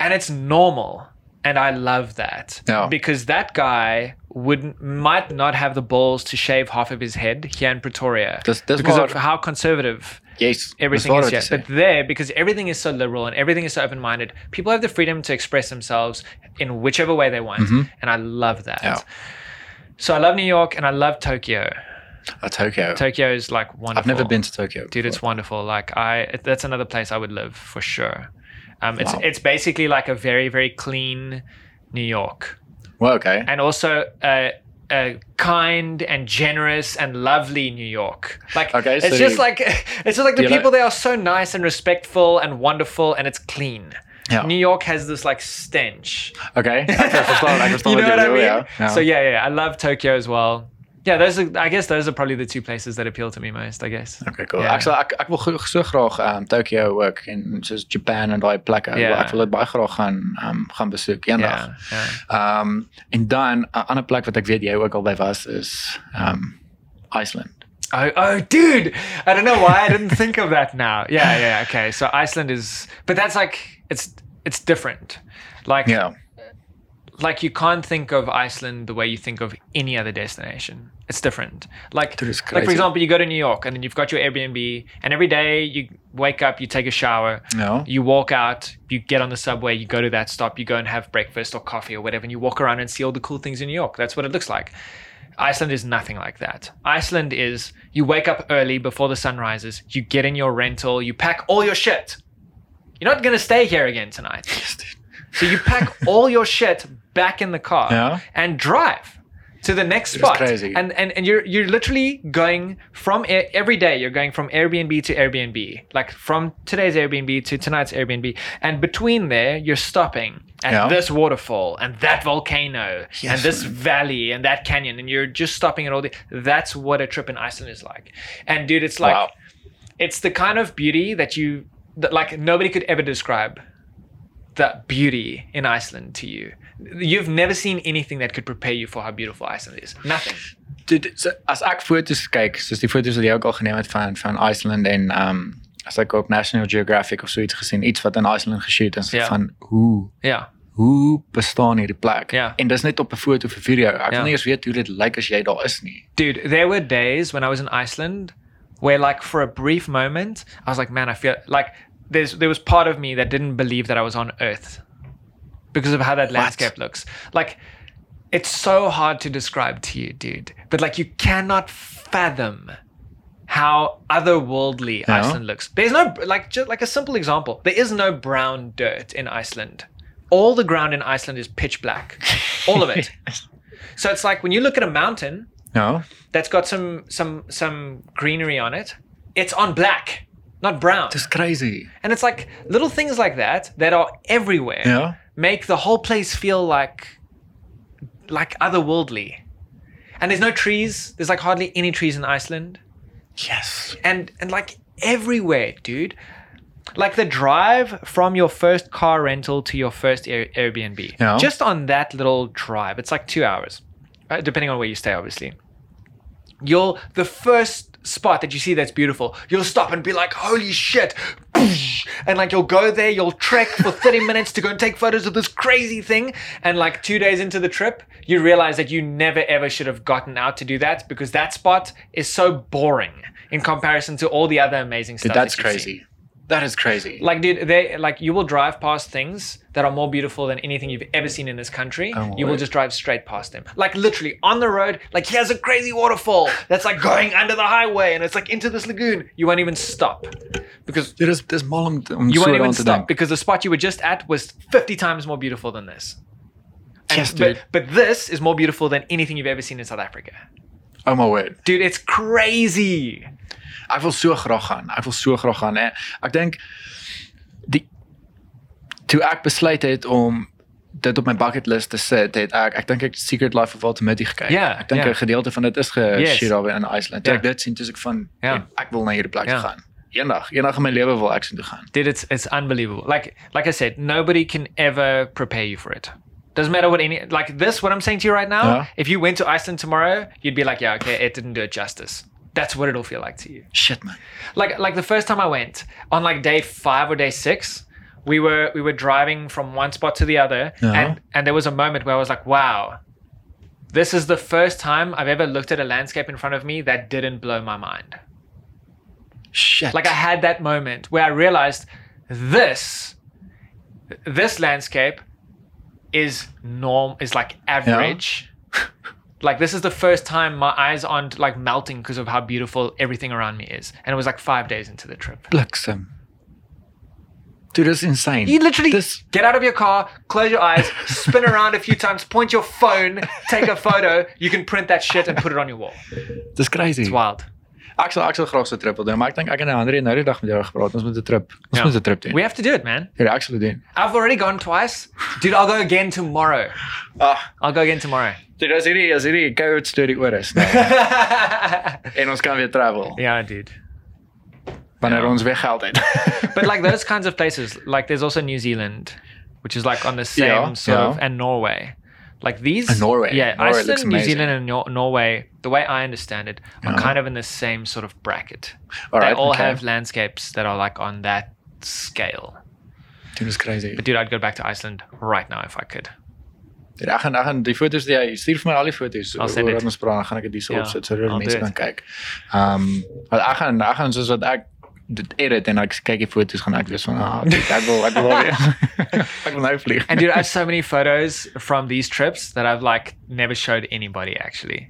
and it's normal, and I love that
Yeah.
because that guy would might not have the balls to shave half of his head here in Pretoria
Dis dis
because
waar.
of how conservative
Yes.
everything
dis
is.
waar
Yet.
wat jy
But
sê.
there, because everything is so liberal and everything is so open minded, people have the freedom to express themselves in whichever way they want, and I love that.
Mm-hmm. Yeah.
So I love New York and I love Tokyo.
Uh, Tokyo.
Tokyo is like wonderful.
I've never been to Tokyo.
Dude, it's wonderful. Like I, it- that's another place I would live for sure. Um, it's
Wow.
it's basically like a very very clean New York,
Well, okay.
and also a, a kind and generous and lovely New York. Like
Okay,
it's
so
just
you-
like it's just like the
you like-
people there are so nice and respectful and wonderful, and it's clean.
Ja.
New York has this like stench.
Okay. Ek verstaan, ek verstaan
you know
wat
what I
jy bedoel,
mean?
ja. Ja.
So yeah, yeah, yeah, I love Tokyo as well. Yeah, those are. I guess those are probably the two places that appeal to me most. I guess.
Okay, cool.
Ja.
Ek sal ek ek wil gro- so graag um Tokyo ook en soos Japan en daai plekke.
Ja.
Ek wil dit baie graag gaan um gaan besoek eendag.
Yeah, yeah.
Um en dan 'n ander plek wat ek weet jy ook al by was is um Iceland.
Oh, oh, dude! I don't know why I didn't think of that now. Yeah, yeah. Okay, so Iceland is, but that's like it's it's different. Like
Ja.
like you can't think of Iceland the way you think of any other destination. It's different. Like
Dude, it's
like
crazy.
for example, you go to New York and then you've got your Airbnb, and every day you wake up, you take a shower,
Ja.
you walk out, you get on the subway, you go to that stop, you go and have breakfast or coffee or whatever, and you walk around and see all the cool things in New York. That's what it looks like. Iceland is nothing like that. Iceland is you wake up early before the sun rises, you get in your rental, you pack all your shit. You're not going to stay here again tonight. So you pack all your shit back in the car
Yeah.
and drive to the next spot.
crazy.
And and and you're you're literally going from Air- every day. You're going from Airbnb to Airbnb, like from today's Airbnb to tonight's Airbnb, and between there you're stopping at
Yeah.
this waterfall and that volcano and
Yes,
this
man.
valley and that canyon, and you're just stopping at all the. That's what a trip in Iceland is like. And dude, it's like
Wow.
it's the kind of beauty that you that like nobody could ever describe that beauty in Iceland to you. You've never seen anything that could prepare you for how beautiful Iceland is. Nothing.
Dit so, as ek foto's kyk, soos die foto's wat jy ook al geneem het van van Iceland en um as ek op National Geographic of so iets gesien, iets wat in Iceland geshoot is
Ja.
van hoe
Yeah.
hoe bestaan hierdie plek?
Ja.
En dis net op 'n foto of 'n video. Ek
Ja.
wil nie eens weet hoe dit lyk as jy daar is nie.
Dude, there were days when I was in Iceland where like for a brief moment I was like, man, I feel like there's there was part of me that didn't believe that I was on Earth because of how that landscape looks. Like it's so hard to describe to you, dude. But like you cannot fathom how otherworldly
No.
Iceland looks. There's no like just like a simple example. There is no brown dirt in Iceland. All the ground in Iceland is pitch black. All of it. so it's like when you look at a mountain,
Ja.
that's got some some some greenery on it. It's on black, not brown.
Dis crazy.
And it's like little things like that that are everywhere
Ja.
make the whole place feel like like otherworldly. And there's no trees. There's like hardly any trees in Iceland.
Yes.
And and like everywhere, dude. Like the drive from your first car rental to your first Air- Airbnb.
Yeah.
Just on that little drive, it's like 2 hours. right? Depending on where you stay obviously you'll the first spot that you see that's beautiful you'll stop and be like holy shit and like you'll go there you'll trek for 30 minutes to go and take photos of this crazy thing and like two days into the trip you realize that you never ever should have gotten out to do that because that spot is so boring in comparison to all the other amazing stuff
Dude, that's
that you've seen.
crazy. That is crazy.
Like, dude, they like you will drive past things that are more beautiful than anything you've ever seen in this country.
Oh, my
you will
word.
just drive straight past them. Like literally on the road, like here's a crazy waterfall that's like going under the highway and it's like into this lagoon. You won't even stop. because
Dit is, dit is mal om, om
you
zo
won't
aan
even
te
stop
denken.
because the spot you were just at was 50 times more beautiful than this. And-
Yes,
but-
dude.
But, this is more beautiful than anything you've ever seen in South Africa.
Oh my word.
Dude, it's crazy.
Ek wil so graag gaan. Ek wil so graag gaan. En ek dink die toe ek besluit het om dit op my bucket list te sit, het ek ek dink ek Secret Life of Walter Mitty gekyk.
Ja,
ek dink
ja.
'n gedeelte van dit is
Yes.
geshoot daar in Iceland. Toe
Ja.
Ek dit sien toe is ek van
Ja.
ek wil na hierdie plek
Ja.
toe gaan. Eendag, eendag in my lewe wil ek soontoe gaan.
Dude, it's it's unbelievable. Like like I said, nobody can ever prepare you for it. Doesn't matter what any like this, what I'm saying to you right now,
Yeah.
if you went to Iceland tomorrow, you'd be like, Yeah, okay, it didn't do it justice. That's what it'll feel like to you.
Shit man.
like like the first time I went on like day five or day six, we were we were driving from one spot to the other,
Uh-huh.
and and there was a moment where I was like, wow, this is the first time I've ever looked at a landscape in front of me that didn't blow my mind.
Shit.
Like I had that moment where I realized this this landscape is norm is like average. like this is the first time my eyes aren't like melting because of how beautiful everything around me is. And it was like five days into the trip.
bliksem. Dude, dis insane.
You literally
dis
get out of your car, close your eyes, spin around a few times, point your phone, take a photo. You can print that shit and put it on your wall.
dis crazy.
It's wild.
Ek sal ek sal graag so 'n trip wil doen, maar ek dink ek en Andre nou die dag met jou gepraat. Ons moet 'n trip. Ons
Ja.
moet 'n trip doen.
We have to do it, man.
Hierdie ek sal dit doen.
I've already gone twice. Dude, I'll go again tomorrow.
Ah,
I'll go again tomorrow.
Dit is hierdie is hierdie COVID storie oor is nou
yeah,
en ons kan weer travel
dude.
wanneer
Ja.
ons weer geld het.
But like those kinds of places, like there's also New Zealand, which is like on the same
Yeah,
sort
yeah.
of, and Norway. Like these,
And Norway.
yeah,
Norway
Iceland,
looks
New
amazing.
Zealand, and Nor- Norway. The way I understand it, are
Yeah.
kind of in the same sort of bracket.
All
they Uh-huh. all have landscapes that are like on that scale.
Dit is crazy.
But dude, I'd go back to Iceland right now if I could.
Dit ek gaan ek gaan die foto's wat jy stuur vir my al die foto's
I'll send
oor
it.
wat ons praat, dan gaan ek dit hier so
Ja,
opsit sodat
I'll
mense
do it.
kan kyk. Ehm want ek gaan ek gaan soos wat ek dit edit en ek kyk die foto's gaan ek weer van ah, dit, ek wil ek wil weer ek wil nou vlieg.
And dude, I have so many photos from these trips that I've like never showed anybody actually.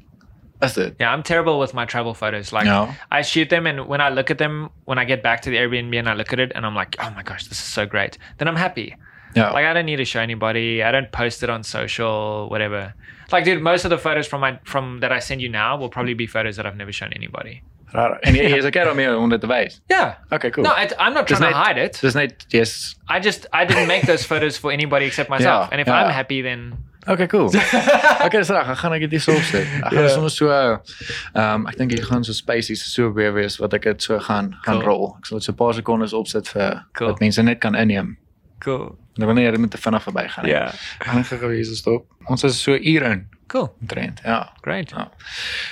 is dit?
Yeah, I'm terrible with my travel photos. Like
Ja.
I shoot them and when I look at them, when I get back to the Airbnb and I look at it and I'm like, oh my gosh, this is so great. Then I'm happy.
Ja.
Like I don't need to show anybody. I don't post it on social, whatever. Like, dude, most of the photos from my from that I send you now will probably be photos that I've never shown anybody.
Raar. En jy is okay daarmee om dit te wys.
Yeah.
Okay, cool.
No, it, I'm not
Dis
trying to
net-
hide it.
Dis net yes.
I just I didn't make those photos for anybody except myself.
Yeah,
and if
yeah.
I'm happy, then
Okay, cool. Ek is reg, ek gaan ek dit hier so opsit. Ek gaan
Ja.
sommer so ehm um, ek dink hier gaan so spaces so weer wees wat ek dit so gaan gaan
Cool.
rol. Ek sal dit so 'n paar sekondes opsit vir
Cool.
dat mense net kan inneem.
cool.
En wanneer dit met te vinnig verbygaan.
Ja.
Gaan ek gou hier so stop. Ons is so uur in
Cool.
omtrent. Ja.
Great.
Ja.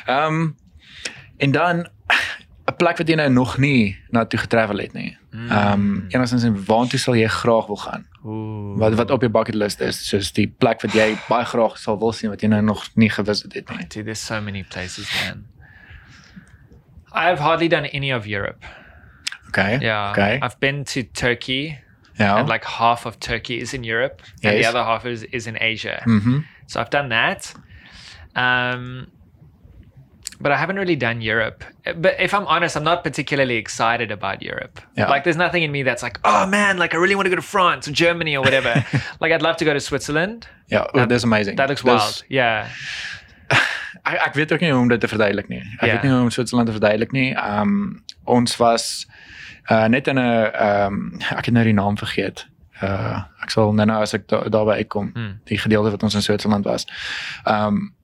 Ehm um, en dan 'n plek wat jy nou nog nie na toe getravel het nie.
Hmm.
Ehm um, enigstens en waartoe sal jy graag wil gaan?
Ooh.
Wat wat op jou bucket list is, soos die plek wat jy baie graag sal wil sien wat jy nou nog nie gevisit het nie.
Dude, there's so many places, man. I've hardly done any of Europe.
Okay.
Yeah.
Okay.
Ja. I've been to Turkey,
Yeah.
and like half of Turkey is in Europe, and the
Yes.
other half is, is in Asia.
mhm.
So I've done that. Um, but I haven't really done Europe. But if I'm honest, I'm not particularly excited about Europe.
Yeah.
Like, there's nothing in me that's like, oh man, like I really want to go to France or Germany or whatever. like, I'd love to go to Switzerland.
Ja, oh, dis amazing.
That looks
Dis-
wild. Yeah.
Ek ek weet ook nie hoe om dit te verduidelik nie. Ek
Ja.
weet nie hoe om Switserland te verduidelik nie. Um ons was uh net in 'n um ek het nou die naam vergeet. Uh ek sal nou nou as ek da daarby uitkom,
Hmm.
die gedeelte wat ons in Switserland was. Um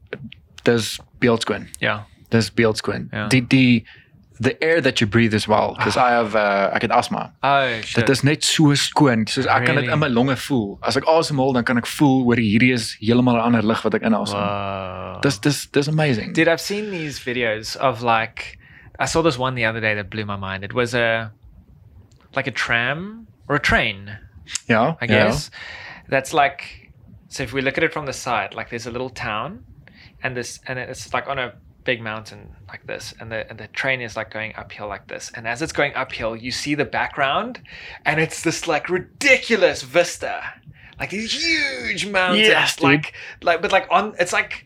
dis beeldskoon.
Yeah.
Dis beeldskoon.
Ja. Ah.
Die die the air that you breathe as well because I have uh, ek het asma.
Oh, shit.
Dit is net so skoon. Soos ek really? kan dit
Really?
in my longe voel. As ek asemhaal, dan kan ek voel hoor hierdie is heeltemal 'n ander lug wat ek inasem. Wow.
Whoa.
Dis dis dis amazing.
Dude, I've seen these videos of like, I saw this one the other day that blew my mind. It was a, like a tram or a train.
ja,
I
ja.
guess. That's like so if we look at it from the side, like there's a little town and this and it's like on a big mountain like this and the and the train is like going uphill like this and as it's going uphill you see the background and it's this like ridiculous vista like these huge mountains
Yes, dude.
like like but like on it's like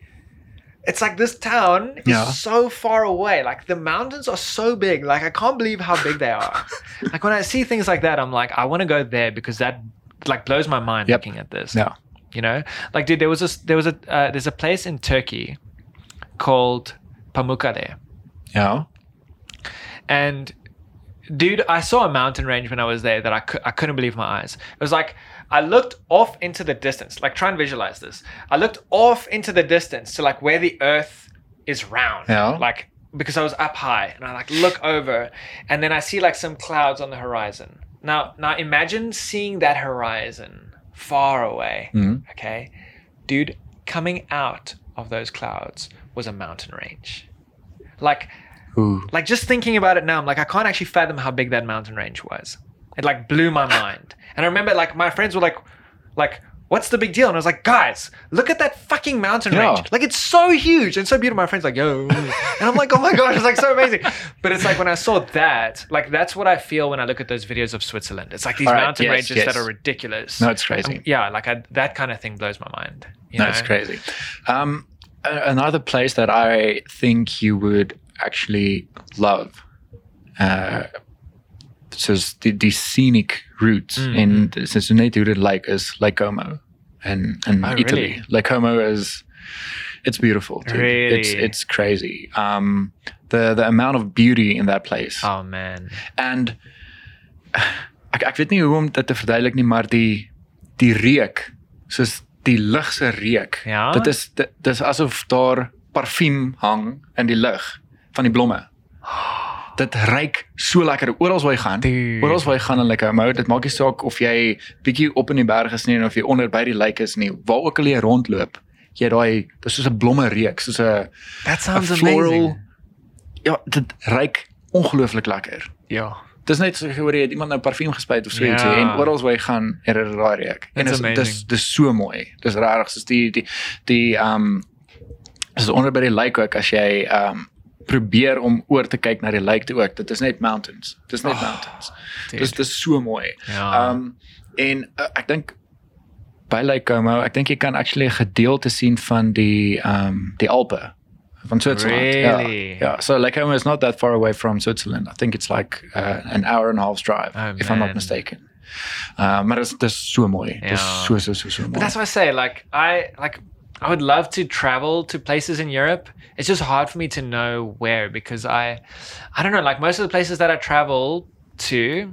it's like this town is
Yeah.
so far away. Like the mountains are so big. Like I can't believe how big they are. like when I see things like that, I'm like, I want to go there because that like blows my mind
Yep.
looking at this.
Yeah.
You know, like dude, there was a there was a uh, there's a place in Turkey called Pamukkale,
Yeah.
and dude, I saw a mountain range when I was there that I cou- I couldn't believe my eyes. It was like I looked off into the distance. Like try and visualize this. I looked off into the distance to like where the Earth is round.
Yeah.
Like because I was up high and I like look over, and then I see like some clouds on the horizon. Now now imagine seeing that horizon far away.
Mhm.
Okay, dude, coming out of those clouds was a mountain range. Like
Ooh.
like just thinking about it now, I'm like, I can't actually fathom how big that mountain range was. It like blew my mind. And I remember like my friends were like, like, what's the big deal? And I was like, guys, look at that fucking mountain
Yeah.
range. Like it's so huge and so beautiful. My friends like, yo. And I'm like, oh my gosh, it's like so amazing. But it's like when I saw that, like that's what I feel when I look at those videos of Switzerland. It's like these
All right,
mountain
yes,
ranges
yes.
that are ridiculous.
No, it's crazy.
yeah, like I, that kind of thing blows my mind. you
That's
know?
crazy. Um, a- another place that I think you would actually love, uh, so s- the, the scenic route
Mm-hmm.
in the Cincinnati would like is Lake Como, and and
Oh,
Italy.
really?
Lake Como is it's beautiful. Dude. It's
Really?
it's crazy. Um, the the amount of beauty in that place
Oh man.
and ek ek weet nie hoe om dit te verduidelik nie, maar die die reuk, soos die lug se reuk.
Ja?
Dit is dit, dit is asof daar parfuum hang in die lug van die blomme. Dit ruik so lekker oral waar jy gaan.
Dude.
Oral waar jy gaan in lekker mou, dit maak nie saak of jy bietjie op in die berg is nie en of jy onder by die lake is nie. Waar ook al jy rondloop, jy het daai dis soos 'n blomme reuk, soos 'n
That
'n
sounds
floral
amazing.
Ja, dit ruik ongelooflik lekker.
Yeah.
Dis net so gehoor jy het iemand nou parfuum gespuit of so ietsie
Ja.
en oral waar jy gaan het dit daai reuk. En
That's
dis dis
amazing.
dis so mooi. Dis regtig soos die die die ehm um, is onder by die lake ook as jy ehm um, probeer om oor te kyk na die lake toe ook. Dit is net mountains. Dis net
Oh,
oh, mountains.
dude.
Dis dis so mooi. Ehm
Yeah.
um, en uh, ek dink by Lake Como, ek dink jy kan actually 'n gedeelte seen van die ehm um, die Alpe van Switzerland.
Really?
Ja. ja, Uh, so Lake Como is not that far away from Switzerland. I think it's like uh, an hour and a half drive
Oh,
if I'm not
man.
mistaken. Uh, maar dis dis so mooi. Ja.
Ja.
Dis so so so so mooi.
But that's what I say. Like I like I would love to travel to places in Europe. It's just hard for me to know where because I I don't know, like most of the places that I travel to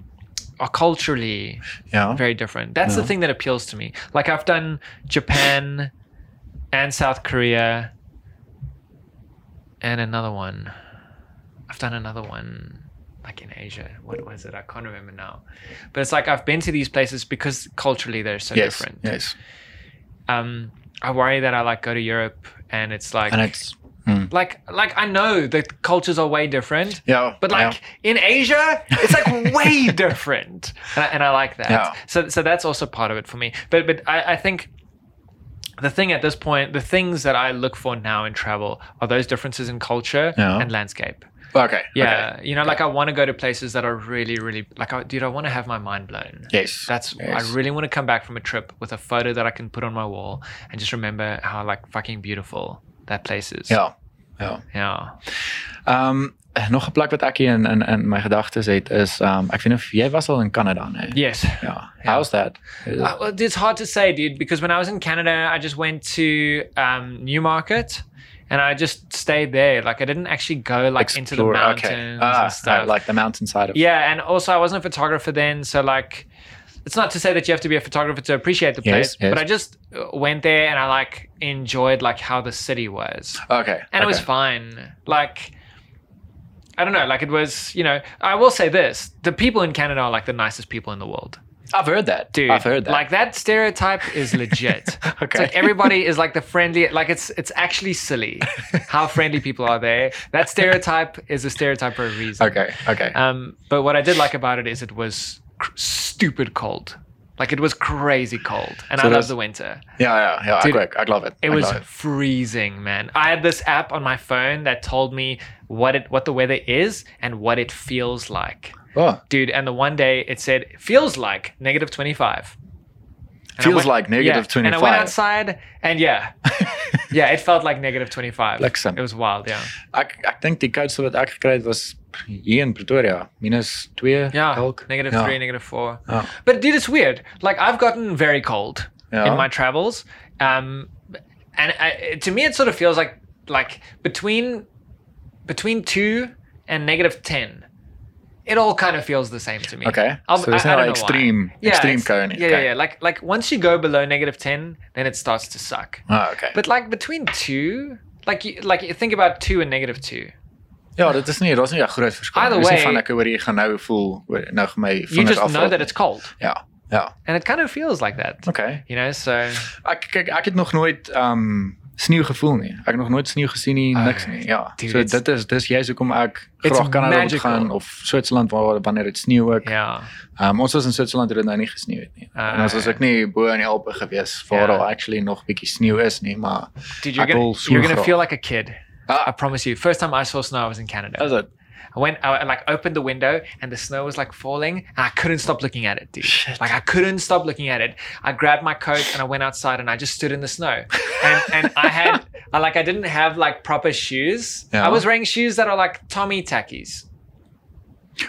are culturally
ja.
very different. That's the
Yeah.
thing that appeals to me. Like I've done Japan and South Korea and another one. I've done another one like in Asia. What was it? I can't remember now. But it's like I've been to these places because culturally they're so
Yes.
different
Yes.
um i worry that i like go to europe and it's like
And it's mm.
like like i know the cultures are way different
Ja.
but like in asia it's like way different and I, and I like that
Yeah.
so so that's also part of it for me but but I, I think the thing at this point the things that i look for now in travel are those differences in culture
Yeah.
and landscape
yeah. okay.
yeah you know like i want to go to places that are really really like I, dude i want to have my mind blown
Okay. Yes.
that's
Yes.
I really want to come back from a trip with a photo that I can put on my wall and just remember how like fucking beautiful that place is.
Ja. Ja.
Yeah.
Ehm um, nog 'n plek wat ek hier in in, in my gedagtes het is ehm um, ek weet nie of jy was al in Kanada nee.
Yes.
Ja.
Ja.
How's that?
Uh, well, it's hard to say, dude, because when I was in Canada, I just went to um, Newmarket and I just stayed there. Like I didn't actually go like into the
Explore,
mountains
okay.
and stuff.
right, like the mountainside of
yeah, and also I wasn't a photographer then, so like it's not to say that you have to be a photographer to appreciate the place,
Yes, yes.
but I just uh, went there and I like enjoyed like how the city was.
Okay.
and it was
okay.
fine. Like, I don't know. Like, it was, you know, I will say this the people in Canada are like the nicest people in the world.
I've heard that.
Dude,
I've heard that.
Like, that stereotype is legit. It's
okay.
like everybody is like the friendly, like it's it's actually silly how friendly people are there. That stereotype is a stereotype for a reason.
okay. Okay.
Um, but what I did like about it is it was cr- stupid cold. Like it was crazy cold, and
So
I love
that's-
the winter.
yeah, yeah, yeah.
dude,
I, agree. I love it.
It
I
was
love
freezing, man. I had this app on my phone that told me what it what the weather is and what it feels like.
Oh,
Dude, and the one day it said feels like negative 25. And I
Feels
went-
like negative
yeah. And I went
25.
outside, and yeah, yeah, it felt like negative twenty five.
Like some-
It was wild. Yeah.
Ek ek dink die koudste wat ek gekry het was hier in Pretoria, minus 2
Yeah,
dalk.
negative
Ja.
three, negative four.
Ja.
But dude, it's weird. Like I've gotten very cold
Yeah.
in my travels, um, and I, it- to me, it sort of feels like like between between two and negative ten, it all kind of feels the same to me.
Okay.
I'll-
so it's
I- I don't know
not
why. Ja,
extreme
Yeah,
extreme
it's-
cone.
Yeah, yeah, yeah. Like like once you go below negative ten, then it starts to suck.
Ah, okay.
ja. But like between two, like you, like you think about two and negative two.
ja, dit is nie, daar's nie 'n groot verskil.
Either
Dit is nie
way-
van ek oor jy gaan nou voel oor nou gaan my
You
vingers
just
af.
know that it's cold,
Ja. Ja.
and it kind of feels like that.
Okay.
You know, so
Ek kyk ek het nog nooit um sneeu gevoel nie. Ek het nog nooit sneeu gesien nie,
Ah,
niks nie. Ja.
dude,
so
it's-
dit is dis juist hoekom ek
It's
graag Kanada wil
magical.
gaan of Switserland waar wanneer dit sneeu ook.
yeah.
Um, ons was in Switserland toe dit nou nie gesneeu het nie.
Ah,
en ons was ook nie bo in die Alpe gewees waar
Ja.
daar actually nog bietjie sneeu is nie, maar
Dude, you're
Ek
gonna
wil so
you're gonna
graag.
feel like a kid. I
ah,
promise you. First time I saw snow, I was in
is
Canada.
dit
I went, I like opened the window, and the snow was like falling, and I couldn't stop looking at it, dude.
Shit.
Like I couldn't stop looking at it. I grabbed my coat and I went outside, and I just stood in the snow. And, and I had, I like, I didn't have like proper shoes.
Yeah.
I was wearing shoes that are like Tommy tackies.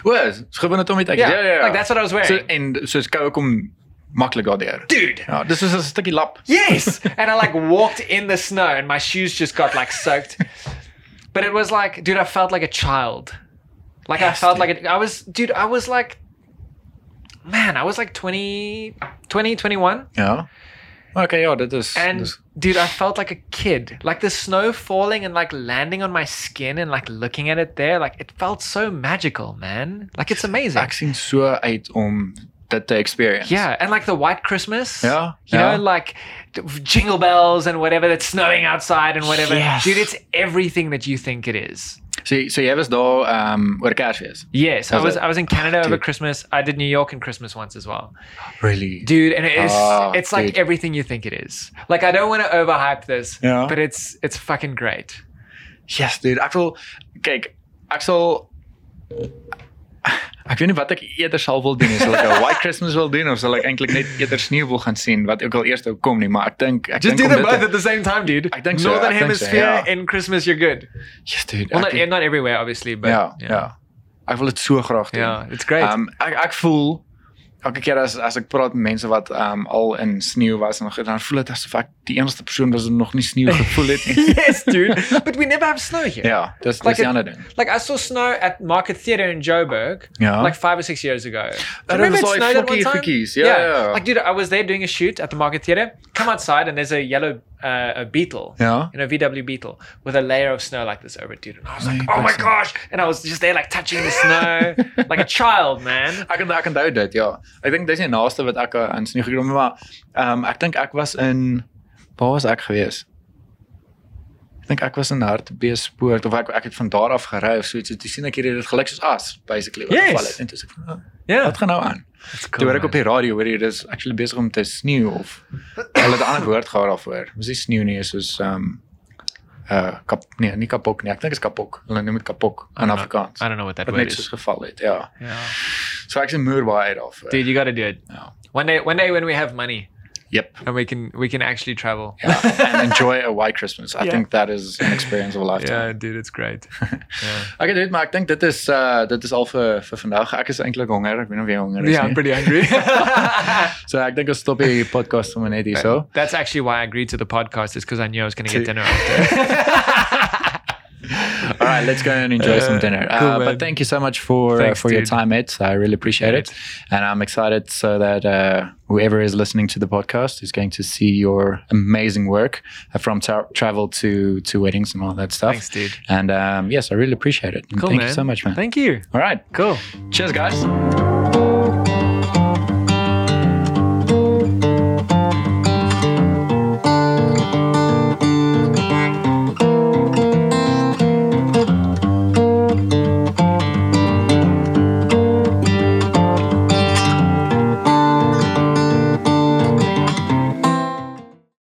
Wel, gewone Tommy Tech. Ja, ja, ja.
like that's what I was wearing,
So en soos koue kom maklik daardeur.
dude.
Ja, dis is 'n stukkie lap.
Yes. and I like walked in the snow and my shoes just got like soaked. But it was like, dude, I felt like a child. Like I
Yes,
felt
dude.
like a, I was, dude, I was like, man, I was like 20, 20, 21.
Ja. Okay, ja, dit is
And
dis
dude, I felt like a kid. Like the snow falling and like landing on my skin and like looking at it there. Like it felt so magical, man. Like it's amazing.
ek sien so uit om dit te experience. Ja?
Yeah, and like the white Christmas.
Yeah,
Ja. You
yeah.
know, like d- jingle bells and whatever that's snowing outside and whatever.
Yes.
Dude, it's everything that you think it is.
So so jy was daar ehm um, oor Kersfees.
Yes, I
Is
was
it?
I was in Canada over
Dude.
Christmas. I did New York and Christmas once as well.
Really?
Dude, and it's
Ah,
it's like
dude.
everything you think it is. Like I don't want to overhype this,
Yeah.
but it's it's fucking great.
Yes, dude. Ek wil kyk, ek sal Ek weet nie wat ek eerder sal wil doen, sal ek 'n White Christmas wil doen of sal ek eintlik net eerder sneeu wil gaan sien wat ook al eers nou kom nie, maar ek dink ek
Just
dink
do
om
them
dit
both
te-
at the same time, dude.
I think so,
Northern
I think so,
Hemisphere
yeah.
in Christmas, you're good.
Yes, dude.
Well,
ek
not,
dink-
not everywhere, obviously, but
Ja, ja. Ek wil dit so graag doen.
Yeah, it's Ja, great.
Ehm ek ek voel elke keer as as ek praat met mense wat ehm al in sneeu was en nog- dan voel dit asof ek die enigste persoon was wat nog nie sneeu gevoel het nie.
yes, dude. But we never have snow here.
ja, dis dis
Like
die
it-
ander ding.
Like I saw snow at Market Theatre in Joburg
Ja.
like five or six years ago. Do you
was like fucky fuckies. Yeah, yeah.
Like, dude, I was there doing a shoot at the Market Theatre. Come outside and there's a yellow uh, a beetle.
Ja.
You know, VW Beetle with a layer of snow like this over it, dude. And I was like,
Nee,
oh my
presies.
gosh. And I was just there, like, touching the snow like a child, man.
Ek kan ek onthou dit, ja. Ek dink dis die naaste wat ek eh, aan sneeu gekry het, maar ehm um, ek dink ek was in waar was ek gewees? Ek dink ek was in Hartbeespoort of ek ek het van daar af gery of so iets. So Toe sien ek hierdie dit gelyk soos as basically wat
Yes.
geval het en toe sê ek van, "Ah,
Yeah.
wat gaan nou aan?
That's
Toe
cool.
hoor ek op die radio hoor jy dis actually besig om te sneeu of hulle het 'n ander woord gehad daarvoor. Mos nie sneeu nie, is soos ehm um, uh kap nee, nie kapok nie. Ek dink dit is kapok. Hulle noem dit kapok in Afrikaans.
Ah, I don't know what that
Wat
word
net soos
is.
geval het, ja.
Yeah.
So ek sien muur baie daarvoor.
Dude, you got to do it.
Ja.
One day, one day when we have money
Yep.
and we can we can actually travel.
Yeah. and enjoy a white Christmas. I
Ja.
think that is an experience of a lifetime.
Yeah, dude, it's great. Yeah.
Ek het dit maar ek dink dit is uh dit is al vir vir vandag. Ek is eintlik honger. Ek weet nie of jy honger is
Yeah, I'm
nie.
pretty hungry.
So ek dink ons stop die podcast sommer net hierso.
That's actually why I agreed to the podcast is because I knew I was going to get dinner after.
All right, let's go and enjoy some
Uh,
dinner.
cool,
uh,
man.
but thank you so much for
Thanks,
uh, for your
dude.
time, Ed. I really appreciate it, and I'm excited so that uh, whoever is listening to the podcast is going to see your amazing work uh, from tra- travel to to weddings and all that stuff.
Thanks, dude.
And um, yes, I really appreciate it. And
Cool,
thank
man.
you so much, man.
Thank you.
all right,
Cool.
cheers, guys.